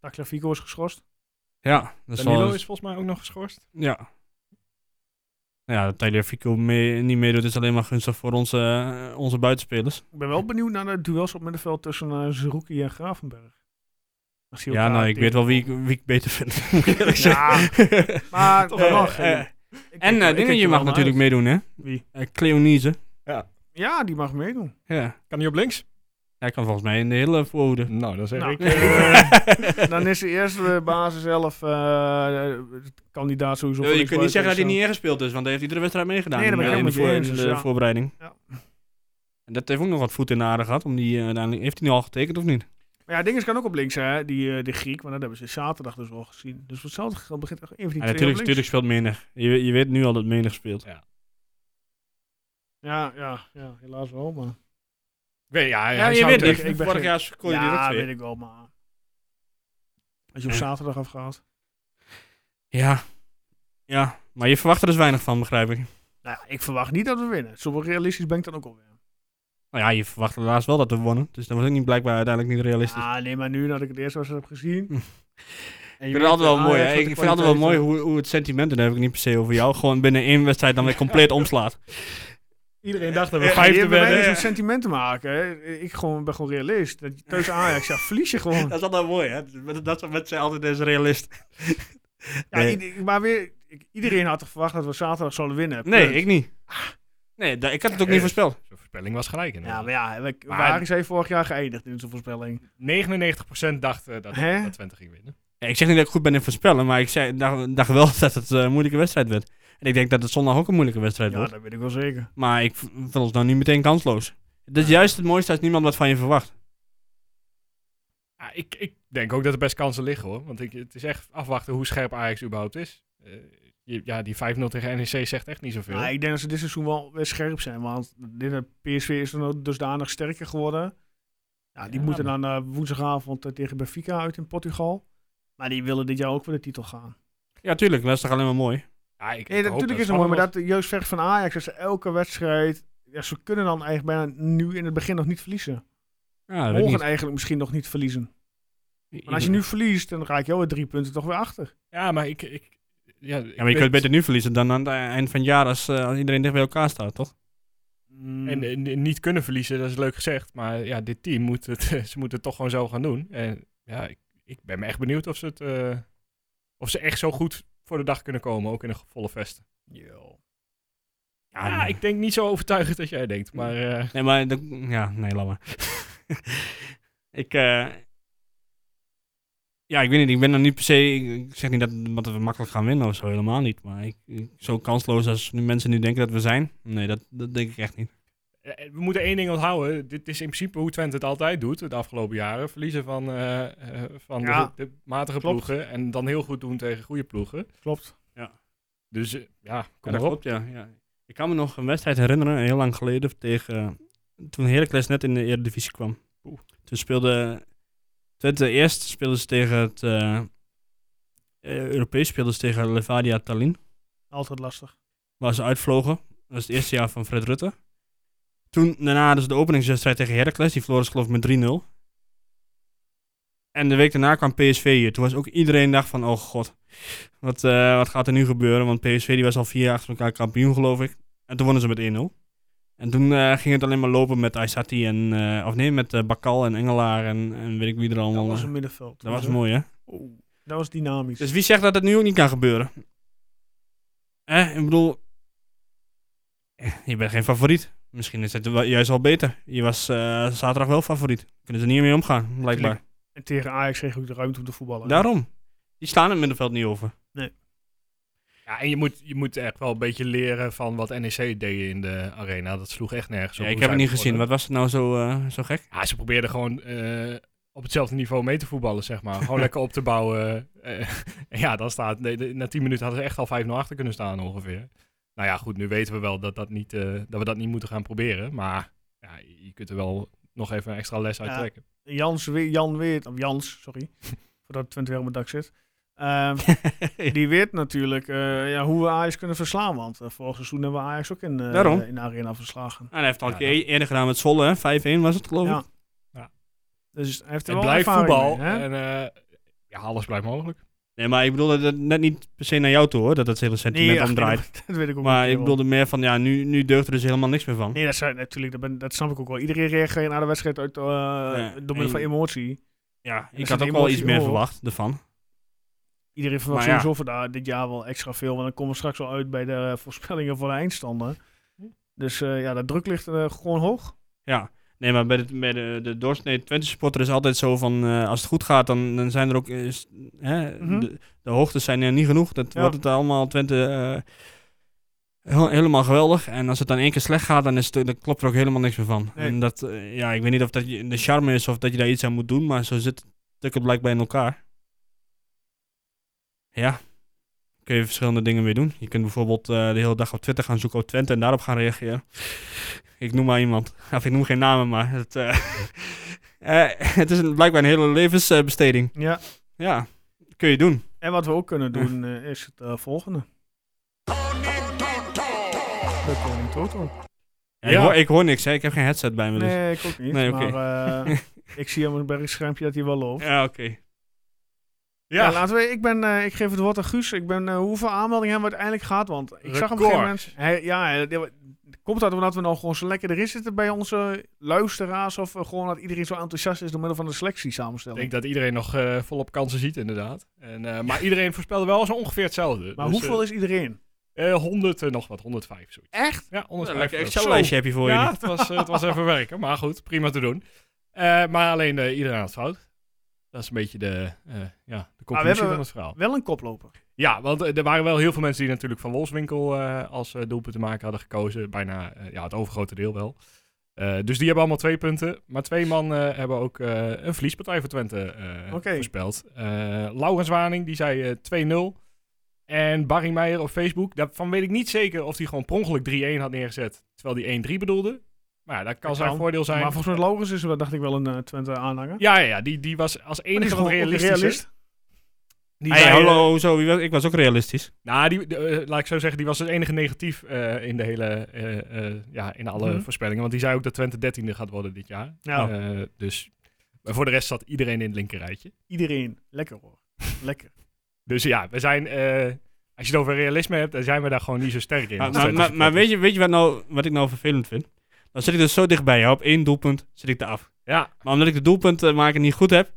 A: Tagliafico is geschorst.
B: Ja, dat is
C: Danilo
B: wel-
C: is volgens mij ook nog geschorst.
B: Ja. Nou Ja, dat Tyler Fico mee, niet meedoet is alleen maar gunstig voor onze, eh, onze buitenspelers.
A: Ik ben wel benieuwd naar de duels op middenveld tussen eh Zerouki en Gravenberg. Als die
B: Ja,
A: elkaar
B: nou, ik weet wel wie ik, wie ik beter vind. moet ik eerlijk
A: Ja,
B: zeggen.
A: maar dat
B: Eh,
A: mag.
B: eh,
A: Ik kijk er-
B: en
A: ik kijk
B: eh
A: er
B: Dingetje
A: wel
B: mag
A: naar
B: natuurlijk
A: uit.
B: meedoen, hè?
A: Wie?
B: Eh Cleonise.
A: Ja, die mag meedoen.
B: Ja.
C: Kan hij op links?
B: Hij kan volgens mij in de hele voorhoede.
C: Nou, dan zeg
A: Nou,
C: ik.
A: eh, dan is de eerste basis zelf eh, kandidaat sowieso. voor
B: Eh,
A: eh. links
B: je kunt niet zeggen dat hij
A: buiten,
B: niet ingespeeld is, want hij heeft iedere wedstrijd meegedaan
A: Nee, dat ben ik
B: in, de- in de,
A: helemaal met je eens,
B: voor- in de
A: dus ja.
B: voorbereiding.
A: Ja.
B: En dat heeft ook nog wat voet in de aarde gehad. Om die, eh, uiteindelijk, heeft hij nu al getekend of niet?
A: dus- Maar ja, Dinges kan ook op links, hè, die, eh, de Griek. Want dat hebben ze zaterdag dus al gezien. Dus voor hetzelfde geld begint er een van die
B: En
A: twee
B: natuurlijk,
A: op links.
B: natuurlijk speelt menig. Je, weet- je weet nu al dat menig speelt.
A: Ja, ja, ja, helaas wel, maar...
C: Nee, ja, hij
B: Ja,
C: zou
B: je weet
C: het
A: terug.
B: het.
C: echt-
A: Ik ben
B: Vorig
A: geen-
B: jaar kon je die
A: ja,
B: direct
A: weet
B: weer.
A: ik wel, maar... Als je op
B: Ja.
A: zaterdag afgaat.
B: Ja. ja, maar je verwacht er dus weinig van, begrijp ik.
A: Nou ja, ik verwacht niet dat we winnen. Zo realistisch ben ik dan ook alweer.
B: Nou ja, je verwacht helaas wel dat we wonnen. Dus dat was ook niet blijkbaar uiteindelijk niet realistisch.
A: Ah, nee, maar nu dat ik het eerst was heb gezien... En
B: Hm.
A: je
B: Ik vind
A: weet,
B: het altijd wel
A: eh,
B: mooi.
A: Ajax
B: hè.
A: wat
B: Ik
A: de
B: vind het altijd wel mooi
A: kwaliteit
B: hoe, hoe het sentiment, en dat heb ik niet per se over jou, gewoon binnen één wedstrijd dan weer compleet omslaat.
C: Iedereen dacht dat
A: heeft.
C: we
A: Ja, je
C: vijfde
A: hebt met eh, mij niet
C: werden.
A: zo'n sentiment te maken. hè. Ik gewoon, ben gewoon realist. Dat je thuis Ajax, ja, verlies je gewoon.
B: Dat is altijd mooi, hè? Dat- Dat soort mensen zijn altijd eens realist.
A: Ja,
B: Nee.
A: ieder- maar weer, ik- iedereen had toch verwacht dat we zaterdag zouden winnen.
B: Nee,
A: Punt.
B: ik niet. Nee, da- ik had het ook
C: Ja,
B: niet
C: eh,
B: voorspeld.
C: Zo'n voorspelling was gelijk.
A: Ja,
C: inderdaad.
A: maar ja, we,
C: Maar-
A: waar is hij vorig jaar geëindigd in zijn voorspelling?
C: 99% dacht eh, dat,
A: Hè?
C: dat Twente ging winnen.
B: Ja, ik zeg niet dat ik goed ben in voorspellen, maar ik zei, dacht, dacht wel dat het eh, een moeilijke wedstrijd werd. En ik denk dat het zondag ook een moeilijke wedstrijd
A: Ja,
B: wordt.
A: dat weet ik wel zeker.
B: Maar ik v- vind ons nou niet meteen kansloos. Dat is juist het mooiste als niemand wat van je verwacht.
C: Ja, ik, ik denk ook dat er best kansen liggen hoor. Want ik, het is echt afwachten hoe scherp Ajax überhaupt is. Eh, je- ja, die 5-0 tegen NEC zegt echt niet zoveel.
A: Maar ik denk dat ze dit seizoen wel weer scherp zijn, want dit eh, PSV is dan ook dusdanig sterker geworden. Ja, die
C: Ja,
A: moeten dan eh, woensdagavond eh, tegen Benfica uit in Portugal. Maar die willen dit jaar ook voor de titel gaan.
B: Ja, tuurlijk, dat is toch alleen maar mooi.
C: ja, ik,
A: Nee,
C: ik hoop
A: natuurlijk is het
C: het
A: mooi, maar
C: spannend
A: dat eh, juist vecht van Ajax is elke wedstrijd... Ja, ze kunnen dan eigenlijk bijna nu in het begin nog niet verliezen.
B: Ja, dat weet ik
A: Mogen
B: niet.
A: eigenlijk misschien nog niet verliezen. Maar als je nu verliest, dan raak je alweer drie punten toch weer achter.
C: wordt. Ja, maar ik... ik ja,
B: ja, maar je kunt beter nu verliezen dan aan het eind van het jaar als, eh, als iedereen dicht bij elkaar staat, toch? Mm.
C: En, eh, n- niet kunnen verliezen, dat is leuk gezegd. Maar ja, dit team moet het, ze moeten het toch gewoon zo gaan doen. En ja, ik, ik ben me echt benieuwd of ze, het, eh, of ze echt zo goed voor de dag kunnen komen. Ook in een volle vesten. Ja,
B: nee.
C: ik denk niet zo overtuigend als jij denkt. Maar eh,
B: Nee, maar... dat- ja, nee, laat maar. Ik, eh, ja, ik weet niet. Ik ben nog niet per se... Ik ik zeg niet dat, dat we makkelijk gaan winnen of zo. Helemaal niet. Maar ik, ik- zo kansloos als nu mensen nu denken dat we zijn. Nee, dat, dat denk ik echt niet.
C: Eh, We moeten één ding onthouden. Dit is in principe hoe Twente het altijd doet de afgelopen jaren. Verliezen van, eh, eh, van de-
A: Ja.
C: de, matige
A: Klopt.
C: ploegen en dan heel goed doen tegen goede ploegen.
A: Klopt.
C: Dus eh, ja, kom
B: Ja, dat
C: erop.
B: klopt, ja, ja. Ik kan me nog een wedstrijd herinneren, heel lang geleden, tegen, eh, toen Heracles net in de Eredivisie kwam.
C: Oeh.
B: Toen speelde Twente eerst speelden ze tegen het eh, eh, Europees speelden ze tegen Levadia Tallinn,
A: Altijd lastig.
B: waar ze uitvlogen. Dat was het eerste jaar van Fred Rutte. Toen daarna hadden ze de openingswedstrijd tegen Heracles, die verloren ze geloof ik met 3-0. En de week daarna kwam PSV hier. Toen was ook iedereen dacht van, oh god, wat, eh, wat gaat er nu gebeuren? Want PSV die was al vier jaar achter elkaar kampioen, geloof ik. En toen wonnen ze met 1-0. En toen eh, ging het alleen maar lopen met Aysati en, eh, of nee, met eh, Bakal en Engelaar en, en weet ik wie er allemaal.
A: Dat was
B: eh,
A: een middenveld.
B: dat was mooi, hè?
A: Oeh, dat was dynamisch.
B: Dus wie zegt dat het nu ook niet kan gebeuren? Eh, ik bedoel, eh, je bent geen favoriet. Misschien is het wel- juist al beter. Je was eh, zaterdag wel favoriet. Kunnen ze niet meer omgaan, blijkbaar.
A: En tegen Ajax kreeg ik de ruimte om te voetballen.
B: Daarom. Die staan het middenveld niet over.
C: Ja, en je moet, je moet echt wel een beetje leren van wat NEC deed in de arena. Dat sloeg echt nergens
B: Ja,
C: op.
B: ik
C: hoe
B: heb het
C: zij
B: niet gezien. Wat
C: begonnen.
B: was het nou zo, eh, zo gek?
C: Ja, ze probeerden gewoon eh, op hetzelfde niveau mee te voetballen, zeg maar. Gewoon lekker op te bouwen. Eh, ja, dan staat... nee, de- na 10 minuten hadden ze echt al 5-0 achter kunnen staan ongeveer. Nou ja, goed, nu weten we wel dat, dat, niet, eh, dat we dat niet moeten gaan proberen. Maar ja, je kunt er wel nog even een extra les uit
A: Ja.
C: trekken.
A: Jans, We- Jan Weert, of Jans, sorry, voordat Twente weer op mijn dak zit. Ehm, die weet natuurlijk eh, ja, hoe we Ajax kunnen verslaan, want eh, vorig seizoen hebben we Ajax ook in, eh,
B: Daarom.
A: in de arena verslagen.
B: Ah, hij heeft het al een
C: Ja,
B: keer eerder gedaan met Zwolle, hè? 5-1 was het, geloof ik.
A: Ja.
B: Ja,
A: Dus hij heeft er
C: Het
A: wel
C: blijft
A: ervaring
C: voetbal.
A: mee, hè?
C: en eh, ja, alles blijft mogelijk.
B: Nee, maar ik bedoelde dat net niet per se naar jou toe, hoor. Dat het hele sentiment
A: ach,
B: omdraait.
A: dat weet ik ook
B: maar
A: niet,
B: ik
A: joh.
B: bedoelde meer van, ja, nu, nu deugt er dus helemaal niks meer van.
A: Nee, dat, zijn, natuurlijk, dat, ben, dat snap ik ook wel. Iedereen reageert na de wedstrijd uit, eh, door middel
B: en-
A: van emotie.
B: Ja, ik
A: zit
B: had ook wel
A: emotie
B: iets meer
A: hoog.
B: verwacht ervan.
A: Iedereen verwacht
B: Maar ja.
A: sowieso vandaag dit jaar wel extra veel, want dan komen we straks wel uit bij de eh, voorspellingen voor de eindstanden. Dus eh, ja, dat druk ligt eh, gewoon hoog.
B: Ja, nee, maar bij de, bij de, de doorsnee Twente supporter is altijd zo van, eh, als het goed gaat, dan, dan zijn er ook, eh, s- hè,
A: Mhm.
B: de, de hoogtes zijn er niet genoeg. Dat
A: Ja.
B: wordt het allemaal Twente eh, heel- helemaal geweldig. En als het dan één keer slecht gaat, dan, is het, dan klopt er ook helemaal niks meer van.
A: Nee.
B: En dat, eh, ja, ik weet niet of dat je de charme is of dat je daar iets aan moet doen, maar zo zit het blijkbaar in elkaar. Ja. Kun je verschillende dingen mee doen. Je kunt bijvoorbeeld eh, de hele dag op Twitter gaan zoeken op Twente en daarop gaan reageren. Ik noem maar iemand. Of ik noem geen namen, maar het, eh, eh, het is een- blijkbaar een hele levensbesteding.
A: Ja.
B: ja, kun je doen.
A: En wat we ook kunnen doen eh, is het eh, volgende. De Koning eh, Toto.
B: Ja, Ik,
C: Ja.
B: hoor, ik hoor niks, hè. ik heb geen headset bij me. Dus.
A: Nee, ik ook niet.
B: Nee, oké.
A: maar eh, ik zie hem bij het schermpje dat hij wel loopt.
B: Ja, oké.
A: Ja, laten we, ik, ben, eh, ik geef het woord aan Guus. Ik ben, eh, hoeveel aanmeldingen hebben we uiteindelijk gehad? Want ik zag hem op een gegeven moment...
C: Record.
A: Hij, ja, hij- die- komt dat omdat we nou gewoon zo lekker erin zitten bij onze luisteraars? Of eh, gewoon dat iedereen zo enthousiast is door middel van de selectie
C: Ik
A: samenstellen?
C: denk dat iedereen nog eh, volop kansen ziet, inderdaad. En, eh, maar iedereen voorspelde wel zo ongeveer hetzelfde.
A: maar
C: Dus,
A: hoeveel is iedereen?
C: eh, eh, 100 en nog wat, 105 zoiets.
A: Echt?
C: Ja, eh,
B: Een
C: 105.
B: lekker
C: geloof ik.
B: Excel-lijstje heb je voor
C: ja,
B: jullie.
C: het was, eh, het was even werken, maar goed, prima te doen. Eh, maar alleen eh, iedereen had het fout. Dat is een beetje de, eh, ja, de conclusie
A: hebben-
C: van het verhaal.
A: Wel een koploper.
C: Ja, want eh, er waren wel heel veel mensen die natuurlijk van Wolfswinkel eh, als eh, doelpunt te maken hadden gekozen. Bijna eh, ja, het overgrote deel wel. Eh, dus die hebben allemaal twee punten. Maar twee man eh, hebben ook eh, een verliespartij voor Twente eh
A: Oké.
C: voorspeld. Eh, Laurens Waning, die zei eh, 2-0. En Barry Meijer op Facebook. Daarvan weet ik niet zeker of hij gewoon per ongeluk 3-1 had neergezet. Terwijl hij 1-3 bedoelde. Maar ja, dat kan
A: Dat
C: zijn
A: kan.
C: voordeel zijn.
A: Maar volgens mij Laurens is, dat dacht ik wel, een eh, Twente aanhanger.
C: Ja, ja, ja die, die was als
A: Maar die
C: enige
A: is
C: wat
A: gewoon ook
C: realistisch.
A: realist.
C: Die
B: Hey,
C: zei, eh,
B: hallo, zo, wie was- ik was ook realistisch.
C: Nou, die, de, eh, laat ik zo zeggen, die was het enige negatief eh, in de hele, eh, eh, ja, in alle
A: Mhm.
C: voorspellingen. Want die zei ook dat Twente dertiende gaat worden dit jaar.
A: Ja.
C: Eh, dus, maar voor de rest zat iedereen in het linkerrijtje.
A: Iedereen. Lekker hoor. Lekker.
C: Dus ja, we zijn, eh, als je het over realisme hebt, dan zijn we daar gewoon niet zo sterk in.
B: Maar,
C: als
B: maar,
C: Twente
B: maar, maar
C: supporters.
B: weet je, weet je wat, nou, wat ik nou vervelend vind? Dan zit ik dus zo dichtbij jou. Op één doelpunt zit ik eraf.
C: Ja,
B: Maar omdat ik de doelpunten maken niet goed heb,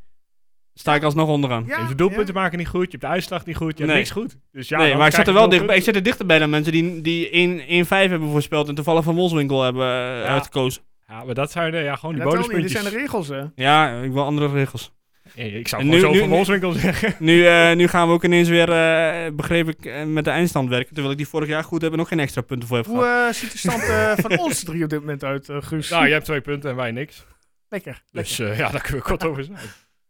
B: sta ik alsnog onderaan.
C: je hebt de doelpunten maken niet goed, je hebt de uitslag niet goed, je
B: Nee.
C: hebt niks goed. Dus ja,
B: nee,
C: dan
B: maar ik
C: krijg
B: zit er
C: je
B: wel
C: doelpunten.
B: dichtbij. Ik zit er dichterbij dan mensen die, die 1-5 hebben voorspeld en toevallig van Wolfswinkel hebben eh, uitgekozen.
C: Ja, maar dat zijn eh, ja, gewoon die
A: dat wel niet, dit
C: bonuspuntjes.
A: zijn de regels, hè?
B: Ja, ik wil andere regels.
C: Eh, ik zou
B: En
C: gewoon
B: nu-
C: zo
B: nu-
C: van
B: nu-
C: Wolfswinkel zeggen.
B: Nu, eh, nu gaan we ook ineens weer, eh, begreep ik, eh, met de eindstand werken. Terwijl ik die vorig jaar goed heb en ook geen extra punten voor heb
A: Hoe
B: gehad.
A: eh, ziet de stand eh, van ons drie op dit moment uit, eh, Guus?
C: Oh. nou, je hebt twee punten en wij niks.
A: Lekker.
C: Dus eh, ja, daar kunnen we kort over zijn.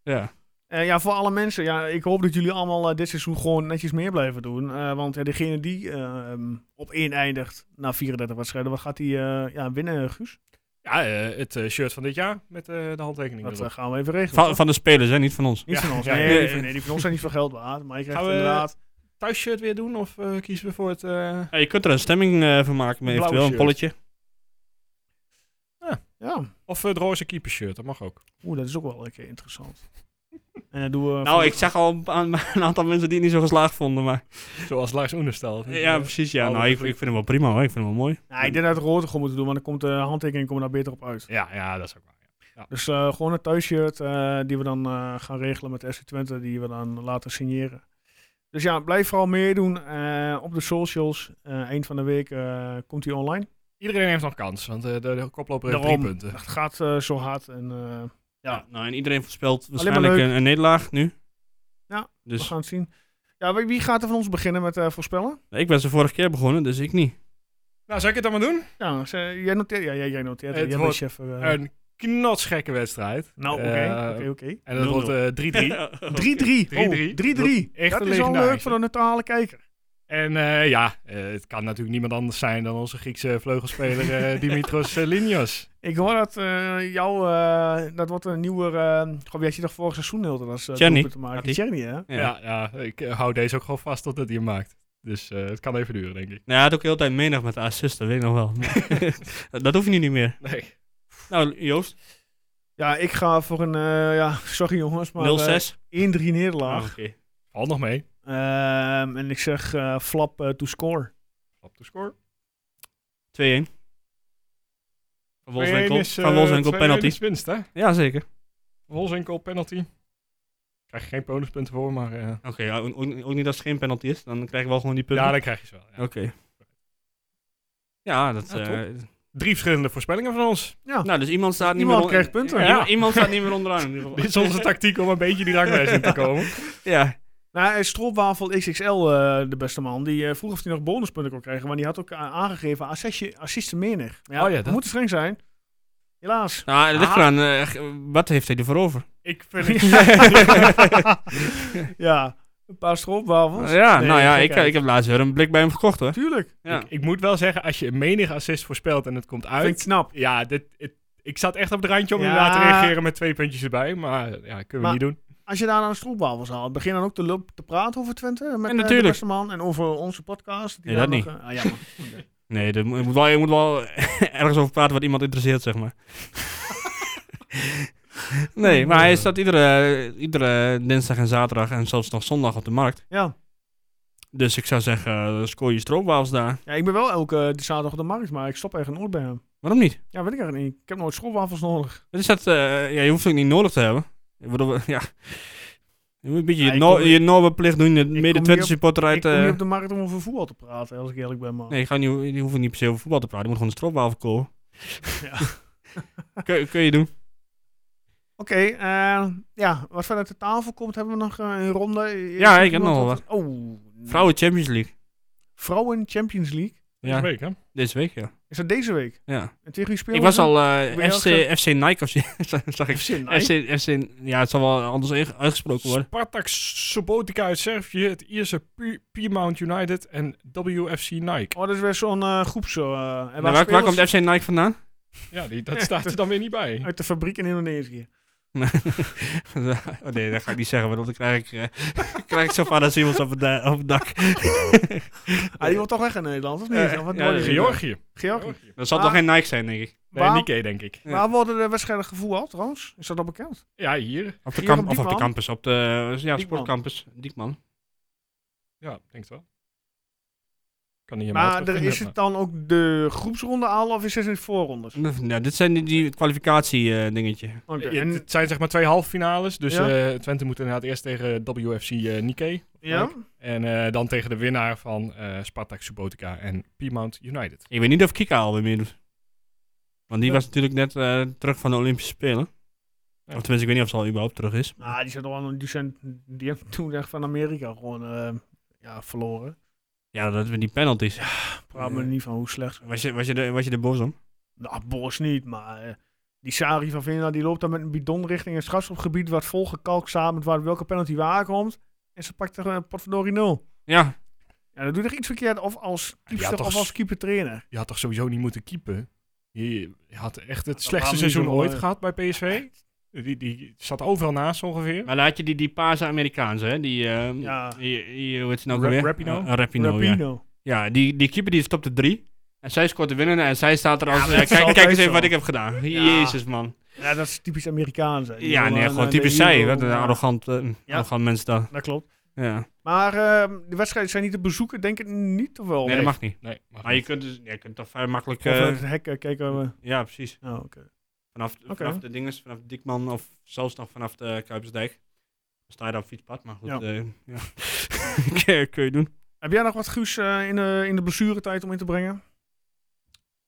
B: Ja.
A: Eh, ja, voor alle mensen. Ja, ik hoop dat jullie allemaal eh, dit seizoen gewoon netjes meer blijven doen. Eh, want ja, degene die ehm, op één eindigt na 34 wedstrijden, wat gaat die eh, ja, winnen, Guus?
C: Ja, eh, het eh, shirt van dit jaar met eh, de handtekening
A: Dat
C: erop.
A: eh, gaan we even regelen.
B: Van,
A: toch?
B: van de spelers, hè, niet van ons.
A: niet
C: ja,
A: van ons.
C: ja,
A: nee,
B: ja,
A: die
B: ja.
A: van- nee, die van ons zijn niet veel geld waard. Maar je krijgt
C: Gaan we-
A: inderdaad...
C: Thuisshirt weer doen of eh, kiezen we voor het... eh,
B: Ja, je kunt er een stemming eh, van maken, maar
C: Blauwe
B: eventueel een
C: shirt.
B: polletje.
A: Ja,
C: Of het roze keepershirt, dat mag ook.
A: oeh, dat is ook wel een keer interessant. en dan doen we...
B: Nou, ik zag al aan een aantal mensen die het niet zo geslaagd vonden, maar...
C: Zoals Lars Oenestal.
B: Ja, precies, ja.
C: Alle
B: Nou, ik, ik
C: drie.
B: vind hem wel prima, hoor. Ik vind hem wel mooi.
A: Nou, ik denk dat we het rood gewoon moeten doen, want dan komt de handtekening komen daar beter op uit.
C: ja, ja, dat is ook waar. ja.
A: Dus eh, gewoon een thuisshirt eh, die we dan eh, gaan regelen met SC Twente, die we dan laten signeren. Dus ja, blijf vooral meedoen eh, op de socials. Eh, eind van de week eh, komt die online.
C: Iedereen heeft nog kans, want eh, de, de koploper heeft
A: Daarom.
C: drie punten.
A: Het gaat eh, zo hard en eh, Ja.
B: Nou, en iedereen voorspelt waarschijnlijk
A: leuk.
B: een, een nederlaag nu.
A: Ja, we
B: Dus
A: gaan het zien. Ja, wie, wie gaat er van ons beginnen met eh, voorspellen?
B: ik ben ze vorige keer begonnen, dus ik niet.
C: Nou, zou ik het dan maar doen?
A: Ja, ze- jij noteert. Ja, jij, jij noteert.
C: Het
A: jij bent
C: wordt
A: chef. eh,
C: Een knotsgekke wedstrijd.
A: nou, oké.
C: eh,
A: oké, oké.
C: En dat
B: 0-0.
C: wordt eh, 3-3.
A: 3-3.
C: 3-3.
A: Oh, 3-3.
C: Echt
A: Dat
C: een
A: is wel leuk
C: legendarische.
A: voor de neutrale kijker.
C: En eh, ja, eh, het kan natuurlijk niemand anders zijn dan onze Griekse vleugelspeler eh, Dimitros eh, Linios.
A: Ik hoor dat eh, jou, eh, dat wordt een nieuwe, eh goh, wie had je toch vorig seizoen heel dat als eh,
B: Tjerny.
A: doelpunt te
B: Had
A: maken?
B: die.
A: Tjerny, hè?
B: Ja.
C: Ja, ja, ik eh, hou deze ook gewoon vast totdat hij hem maakt. Dus eh, het kan even duren, denk ik.
B: Nou, hij had ook heel de tijd menig met de assist, dat weet ik nog wel. dat hoef je nu niet meer.
C: Nee.
B: Nou, Joost, 0-6.
A: Ja, ik ga voor een, eh, ja, sorry jongens, maar eh, 1-3 nederlaag.
B: Oh, oké.
C: Al nog mee.
A: Ehm, en ik zeg eh, flap eh, to score.
C: Op de score.
B: 2-1. Van Wolfswinkel.
C: 2-1 is, eh,
B: van Wolfswinkel
C: 2-1
B: penalty.
C: is winst, hè?
B: Ja, zeker.
C: Wolfswinkel penalty. Krijg je geen bonuspunten voor, maar... eh,
B: Oké, ja, ook, ook- ook niet als het geen penalty is, dan krijg je wel gewoon die punten.
C: ja, dan krijg je ze wel. ja.
B: Oké. Ja, dat...
C: Ja,
B: eh,
C: Drie verschillende voorspellingen van ons.
B: nou, dus iemand staat niet
A: Iemand
B: meer... on-
A: krijgt punten.
B: Ja,
C: Ja.
B: iemand- Iemand staat niet meer onderaan. in ieder geval.
C: Dit is onze tactiek om een beetje die ranglijst in te komen.
B: Ja.
A: Nou, eh, Stroopwafel XXL, eh, de beste man, die eh, vroeg of hij nog bonuspunten kon krijgen, maar die had ook a- aangegeven assistje, assisten menig. Maar Ja,
C: Oh ja,
A: we
C: dat-
A: moeten streng zijn. Helaas.
B: Nou, dat ligt
C: Ah.
B: eraan. eh, g- wat heeft hij ervoor over?
C: Ik vind het...
A: ja, een paar stroopwafels.
B: ja,
A: Nee,
B: nou ja, ik,
A: gekheid.
B: ik heb laatst weer een blik bij hem gekocht, hoor.
A: Tuurlijk.
B: Ja.
C: Ik moet wel zeggen, als je een menig assist voorspelt en het komt
A: Vind ik
C: uit...
A: knap.
C: Ja, dit, het- ik zat echt op het randje om
A: Ja.
C: inderdaad te reageren met twee puntjes erbij. Maar ja, kunnen we
A: Maar-
C: niet doen.
A: Als je daar aan stroopwafels haalt, begin dan ook te, loop- te praten over Twente met eh, de
B: natuurlijk.
A: beste man en over onze podcast.
B: Nee, dat
A: daar
B: niet.
A: nog, eh, ah, jammer. Oké.
B: Nee, er moet- je moet wel, je moet wel ergens over praten wat iemand interesseert, zeg maar. nee, maar hij staat iedere, iedere dinsdag en zaterdag en zelfs nog zondag op de markt.
A: ja.
B: Dus ik zou zeggen, eh, scoor je stroopwafels daar.
A: ja, ik ben wel elke eh, zaterdag op de markt, maar ik stop eigenlijk nooit bij hem.
B: Waarom niet?
A: Ja, weet ik eigenlijk niet. Ik heb nooit stroopwafels nodig.
B: Wat is dat, eh, ja, je hoeft het ook niet nodig te hebben. Ik bedoel, ja... Je moet een beetje
A: Ja,
B: je,
A: ik
B: no
A: kom-
B: je Norbe-plicht doen, de
A: niet
B: mede-Twente
A: op-
B: supporter
A: ik
B: uit...
A: kom
B: eh,
A: niet op de markt om over voetbal te praten, als ik eerlijk ben. Maar.
B: Nee, je, gaat niet, je hoeft niet per se over voetbal te praten. Je moet gewoon een stroopwafel kopen. kun, kun je doen.
A: Oké, eh, ja, wat verder te tafel komt, hebben we nog eh, een ronde.
B: Ja, ik heb nog wel wat.
A: Oh,
B: Vrouwen Champions League.
A: Vrouwen Champions League.
C: Deze
B: Ja,
C: week, hè?
B: deze week, ja.
A: Is dat deze week?
B: ja.
A: En tegen wie spelen
B: Ik was
A: ze?
B: al
A: Ik
B: eh
A: ben
B: FC,
A: heel
B: FC Nike of zo, zag ik.
A: FC Nike?
B: FC, FC, ja, het zal wel anders uitge- uitgesproken worden.
C: Spartak Subotica uit Servië, het Ierse Pu- Piemont United en WFC Nike.
A: Oh, dat is weer zo'n eh, groep zo. eh. en
B: Nou, waar, waar
A: spelen
B: komt
A: ze?
B: FC Nike vandaan?
C: Ja, die, dat staat er dan weer niet bij.
A: Uit de fabriek in Indonesië.
B: oh, nee, dat ga ik niet zeggen, want dan krijg ik, eh, krijg ik zo van als iemand op het, da- op het dak.
A: Ah, die wil toch weg in Nederland, of niet?
B: Eh,
A: Of wat
B: ja,
A: worden die?
C: Georgië.
A: Georgië.
C: Georgië.
B: Dat
A: Ah.
B: zal toch geen Nike zijn, denk ik.
C: Nee,
A: Waar,
C: Nike, denk ik.
A: waar worden de wedstrijden gevoerd trouwens? Is dat al bekend?
C: Ja, hier.
B: Op de,
A: Hier op
B: kamp, of op de
A: Diekman?
B: campus, op de eh, ja,
A: Diekman.
B: sportcampus. Diekman.
C: Ja, ik denk het wel. Kan niet helemaal
A: maar er
C: terugvinden,
A: is het dan ook de groepsronde al of is het in de voorrondes?
B: Ja, dit zijn die, die eh, kwalificatie-dingetje.
A: Oké,
C: Ja,
A: en-
C: het, het zijn zeg maar twee halve finales. Dus
A: Ja.
C: eh, Twente moet inderdaad eerst tegen WFC eh Nikkei.
A: ja?
C: En eh, dan tegen de winnaar van eh Spartak Subotica en Piemont United.
B: ik weet niet of Kika alweer meer doet. Want die was natuurlijk net eh, terug van de Olympische Spelen.
C: Ja.
B: Of tenminste, ik weet niet of ze al überhaupt terug is.
A: Ah, die, zijn toch wel- die, zijn, die hebben toen echt van Amerika gewoon eh, ja, verloren.
B: Ja, dat we die penalties.
A: Praat me
B: Ja.
A: niet van hoe slecht.
B: Was je, was je, er- was je er boos om?
A: Nou, Bos niet, maar eh, die Sari van Vinda die loopt dan met een bidon richting een strafschopgebied wat volgekalkt samen waar welke penalty waar komt. En ze pakt er een potverdorie nul.
B: Ja.
A: Ja, dat doet er iets verkeerd of als keeper
C: toch
A: of
C: s-
A: als keeper trainer.
C: Je had toch sowieso niet moeten keepen? Je je had echt het
A: waren
C: slechtste
A: niet
C: seizoen
A: zo,
C: ooit
A: eh,
C: gehad bij PSV. Die, die zat overal naast ongeveer.
B: Maar dan had je die, die paarse Amerikaanse, hè? Die, eh,
A: Ja.
B: die- die- hoe heet ze nou
C: Ra-
B: weer?
C: Rapinoe?
B: Rapino, ja.
A: Rapino.
B: Ja, die, die keeper die stopte drie. En zij scoort de winnende en zij staat er als...
A: maar
B: eh,
A: dat is
B: kijk,
A: altijd
B: kijk eens even
A: zo.
B: wat ik heb gedaan.
A: Ja.
B: Jezus, man.
A: Ja, dat is typisch Amerikaans. hè. Die
B: Ja,
A: willen
B: nee,
A: een-
B: gewoon
A: een
B: typisch zij.
A: hero,
B: Wat een
A: maar-
B: arrogant, eh,
A: Ja.
B: arrogant mens daar.
A: Dat klopt.
B: Ja.
A: Maar ehm, de wedstrijden zijn niet te bezoeken, denk ik niet of wel.
B: Nee, dat mag niet.
C: Nee, maar
B: Maar je kunt, dus, ja, je kunt toch vrij makkelijk...
A: Of
B: eh,
A: het hek eh, kijken we.
B: ja, precies.
A: Oh, oké.
B: Vanaf,
A: Oké.
B: vanaf de dinges, vanaf Dikman of zelfs nog vanaf de Kuipersdijk. Dan sta je daar op fietspad, maar goed.
A: Ja.
B: Ja. ja. kun, kun je doen.
A: Heb jij nog wat Guus eh, in, de, in de blessuretijd om in te brengen?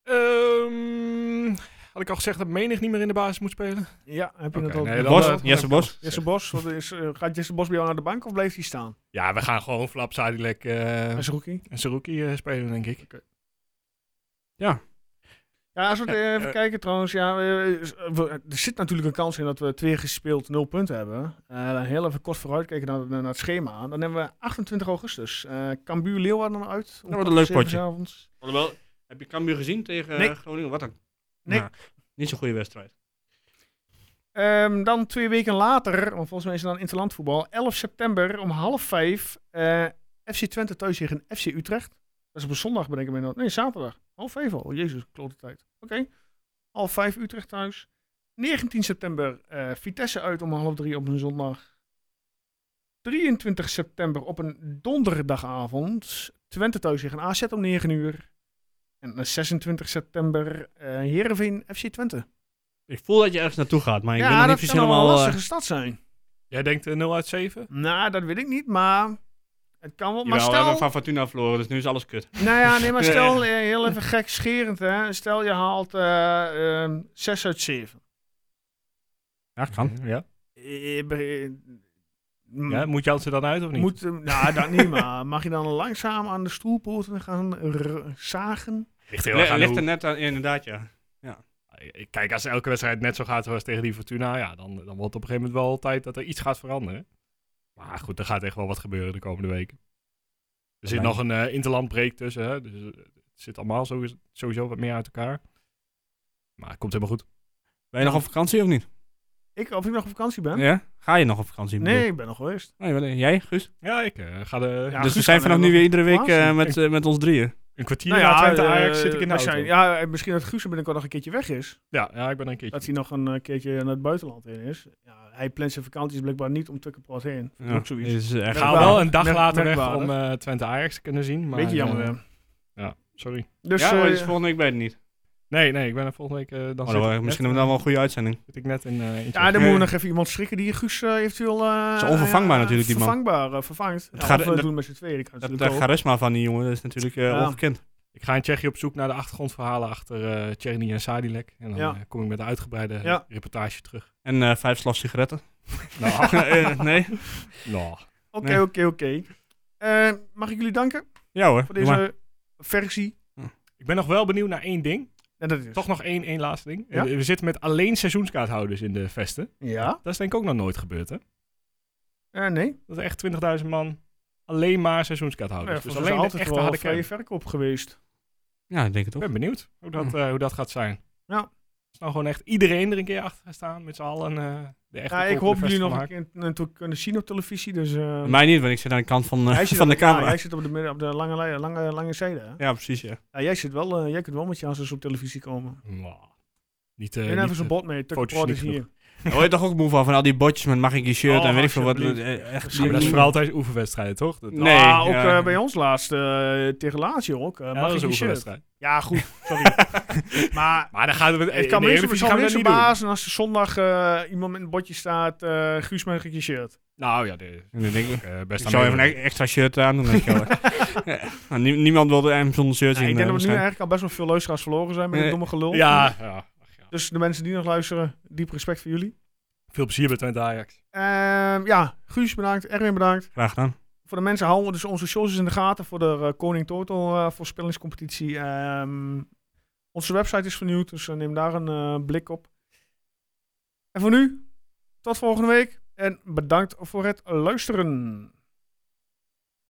C: Ehm, had ik al gezegd dat menig niet meer in de basis moet spelen?
A: Ja, heb je
C: Oké,
A: dat al?
C: nee, dan,
B: Bos,
C: eh,
B: Jesse Bos.
A: Jesse Bos, wat is, eh, gaat Jesse Bos bij jou naar de bank of blijft hij staan?
C: Ja, we gaan gewoon Flap, Sadilek eh,
A: Als rookie.
C: en Saruki eh, spelen, denk ik.
A: Ja, als we het
C: Ja,
A: even
C: eh,
A: kijken trouwens. Ja, eh, is- eh, we- er zit natuurlijk een kans in dat we twee gespeeld nul punten hebben. Eh, heel even kort vooruitkijken naar, naar het schema. Dan hebben we 28 augustus. Eh Cambuur Leeuwarden uit. om
B: Dat wordt een leuk
A: zeven
B: potje.
A: avonds.
B: Alhoewel, heb je Cambuur gezien tegen eh,
A: Nee.
B: Groningen? Wat een...
A: Nee.
B: Nou, niet zo'n goede wedstrijd.
A: Ehm, dan twee weken later, want volgens mij is het dan interlandvoetbal. 11 september om half vijf. eh, FC Twente thuis tegen FC Utrecht. Dat is op een zondag, bedenk ik me nou. Nee, zaterdag. Half vijf al. Jezus, klote tijd. Oké. Half vijf Utrecht thuis. 19 september eh, Vitesse uit om half drie op een zondag. 23 september op een donderdagavond. Twente thuis tegen AZ om 9 uur. En eh, 26 september eh Heerenveen FC Twente.
B: Ik voel dat je ergens naartoe gaat, maar ik
A: ja,
B: weet nog niet
A: dat
B: precies
A: kan allemaal een
B: helemaal... eh,
A: lastige stad zijn.
C: Jij denkt eh, 0 uit 7?
A: Nou, dat weet ik niet, maar het kan wel. Maar
B: Jawel, we hebben
A: stel,
B: van Fortuna verloren, dus nu is alles kut.
A: nou ja, nee, maar stel, eh, heel even gek scherend, hè. Stel je haalt eh ehm 6 uit 7.
B: Ja,
C: Ja.
A: Eh,
C: ja. Mm. Moet je ze dan uit of niet?
A: Moet, eh, nou, dat niet, maar mag je dan langzaam aan de stoelpoten gaan r- zagen?
C: Ligt
B: ligt er net aan,
A: eh,
B: inderdaad, ja.
C: Ik- Kijk, als elke wedstrijd net zo gaat zoals tegen die Fortuna, ja, dan, dan wordt het op een gegeven moment wel tijd dat er iets gaat veranderen. Maar goed, er gaat echt wel wat gebeuren de komende weken. Er zit
B: lijkt
C: nog een eh interlandbreek tussen, hè? dus eh, het zit allemaal sowieso, sowieso wat meer uit elkaar. Maar het komt helemaal goed.
B: Ben je nog op vakantie of niet?
A: Ik, of ik nog op vakantie ben?
B: Ja? Ga je nog op vakantie? bedoel
A: Nee,
B: ik?
A: ik ben nog geweest.
B: Nee, wat- Jij, Guus?
C: Ja, ik eh, ga de,
A: Ja,
B: dus we
A: Guus
B: zijn
A: gaat
B: vanaf nu
A: nog
B: weer iedere week
A: vakantie.
B: eh, met, eh, met ons drieën.
C: een kwartier na Twente Ajax
A: eh,
C: zit ik in de
A: als jij-
C: auto. Ja.
A: ja, eh, misschien dat Guus er binnenkort nog een keertje weg is.
C: Ja, ik ben er een keertje.
A: Dat hij nog een eh, keertje naar het buitenland in is. Ja, hij plant zijn vakanties blijkbaar niet om Tukkenplat heen.
B: Ja,
A: Ook zoiets.
B: dit is eh, echt-
A: Merkwaardig.
C: ga wel een dag
A: Merk-
C: later weg
A: merkwaardig.
C: om eh, Twente Ajax te kunnen zien. Maar,
A: Beetje jammer,
C: eh,
A: hè.
C: ja, sorry.
A: Dus,
B: ja, maar
A: eh,
B: dus volgende week ben je het niet.
C: Nee, nee, ik ben er volgende week. eh, dan
B: Oh,
C: zit,
B: dan-
C: ik
B: misschien
C: net,
B: hebben we dan wel een goede uitzending.
C: zit ik net in. eh, in
A: ja, dan
C: Tsjechië.
A: moeten we nog even iemand schrikken die Guus eh, eventueel... eh,
B: Is onvervangbaar
A: ja,
B: natuurlijk, die man.
A: Vervangbaar, eh, vervangt. Het
B: gaat-
A: gaat, we
B: dat-
A: doen met z'n tweeën. Dat kan
B: Dat
A: natuurlijk
B: eh,
A: ook.
B: charisma van die jongen dat is natuurlijk eh,
A: Ja.
B: ongekend.
C: Ik ga in Tsjechië op zoek naar de achtergrondverhalen achter eh Tjerni en Sadilek. En dan
A: Ja.
C: eh, kom ik met een uitgebreide
A: Ja.
C: reportage terug.
B: En eh, vijf slaf sigaretten.
C: Nou,
B: Eh, nee?
C: nou.
A: Oké,
B: Nee.
A: oké, oké. Eh, Mag ik jullie danken
B: Ja hoor.
A: voor
B: doe maar.
A: deze versie?
C: Ik ben nog wel benieuwd naar één ding.
A: En dat is...
C: Toch nog één, één laatste ding.
A: Ja?
C: Eh, We zitten met alleen seizoenskaarthouders in de vesten.
A: Ja?
C: Dat is denk ik ook nog nooit gebeurd, hè?
A: Eh, nee.
B: Oh,
C: Dat is echt 20.000 man alleen maar seizoenskaarthouders.
A: dus
C: dus alleen de
A: altijd
C: echte
A: wel
C: harde
A: half
C: kern.
A: vrije
C: Ik
A: verkoop geweest.
B: Ja, ik denk het ook.
C: ben benieuwd hoe dat, eh, hoe dat gaat zijn.
A: Hm. Ja.
C: Is nou gewoon echt iedereen er een keer achter gaan staan met z'n allen. eh, de echte
A: Ja, ik
C: kopende
A: hoop
C: vesten
A: jullie nog een
C: maken.
A: keer een- een- kunnen zien op televisie, dus... eh,
B: Mij niet, want ik zit aan de kant van, eh,
A: hij zit
B: van
A: op-
B: de
A: ja,
B: camera.
A: Jij zit op de, midden- op de lange, lijn- lange, lange zijde, hè?
B: Ja, precies. Ja.
A: Ja, jij, zit wel, eh, jij kunt wel met je hasses op televisie komen.
C: Nou, Niet,
A: En
C: eh,
A: even
C: niet,
A: zo'n
C: eh,
A: bot mee.
C: foto's
A: Tukkenport is
C: niet
A: hier.
B: Daar word je toch ook moe van, van al die botjes met mag ik je shirt
A: Oh,
B: en weet ik veel wat.
A: alsjeblieft.
B: eh, Echt,
A: Ja, maar
C: dat is vooral tijdens oefenwedstrijden, toch? Dat,
B: Nee,
A: Ah, ook
B: ja.
A: eh, bij ons laatst eh, tegen Lazio ook. eh,
C: Ja,
A: mag
C: dat is
A: ik
C: een
A: je shirt?
C: oefenwedstrijd.
A: Ja, goed. Sorry. maar
C: Maar dan gaan we het
A: ik kan me niks,
C: gaan
A: kan
C: we
A: me
C: dat
A: niks
C: niet doen.
A: verbazen als er zondag eh, iemand met een botje staat. eh Guus, mag ik je shirt?
C: Nou ja, de,
B: En dan denk ik,
C: eh, best
B: ik zou even een
C: mee.
B: e- extra shirt aan doen. denk ik wel. Ja, nou, nie- niemand wilde hem zonder shirt
A: Nou,
B: zien.
A: ik denk
B: eh,
A: dat we nu
B: waarschijnlijk.
A: eigenlijk al best wel veel luisteraars verloren zijn met
B: Nee.
A: dit domme gelul.
C: Ja, ja,
A: Dus de mensen die nog luisteren, diep respect voor jullie.
C: veel plezier bij Twente Ajax.
A: Ehm, ja, Guus bedankt, Erwin bedankt.
B: Graag gedaan.
A: Voor de mensen houden we dus onze socials in de gaten voor de eh, Koning Total eh, voorspellingscompetitie. Ehm, onze website is vernieuwd, dus eh, neem daar een eh, blik op. En voor nu, tot volgende week en bedankt voor het luisteren.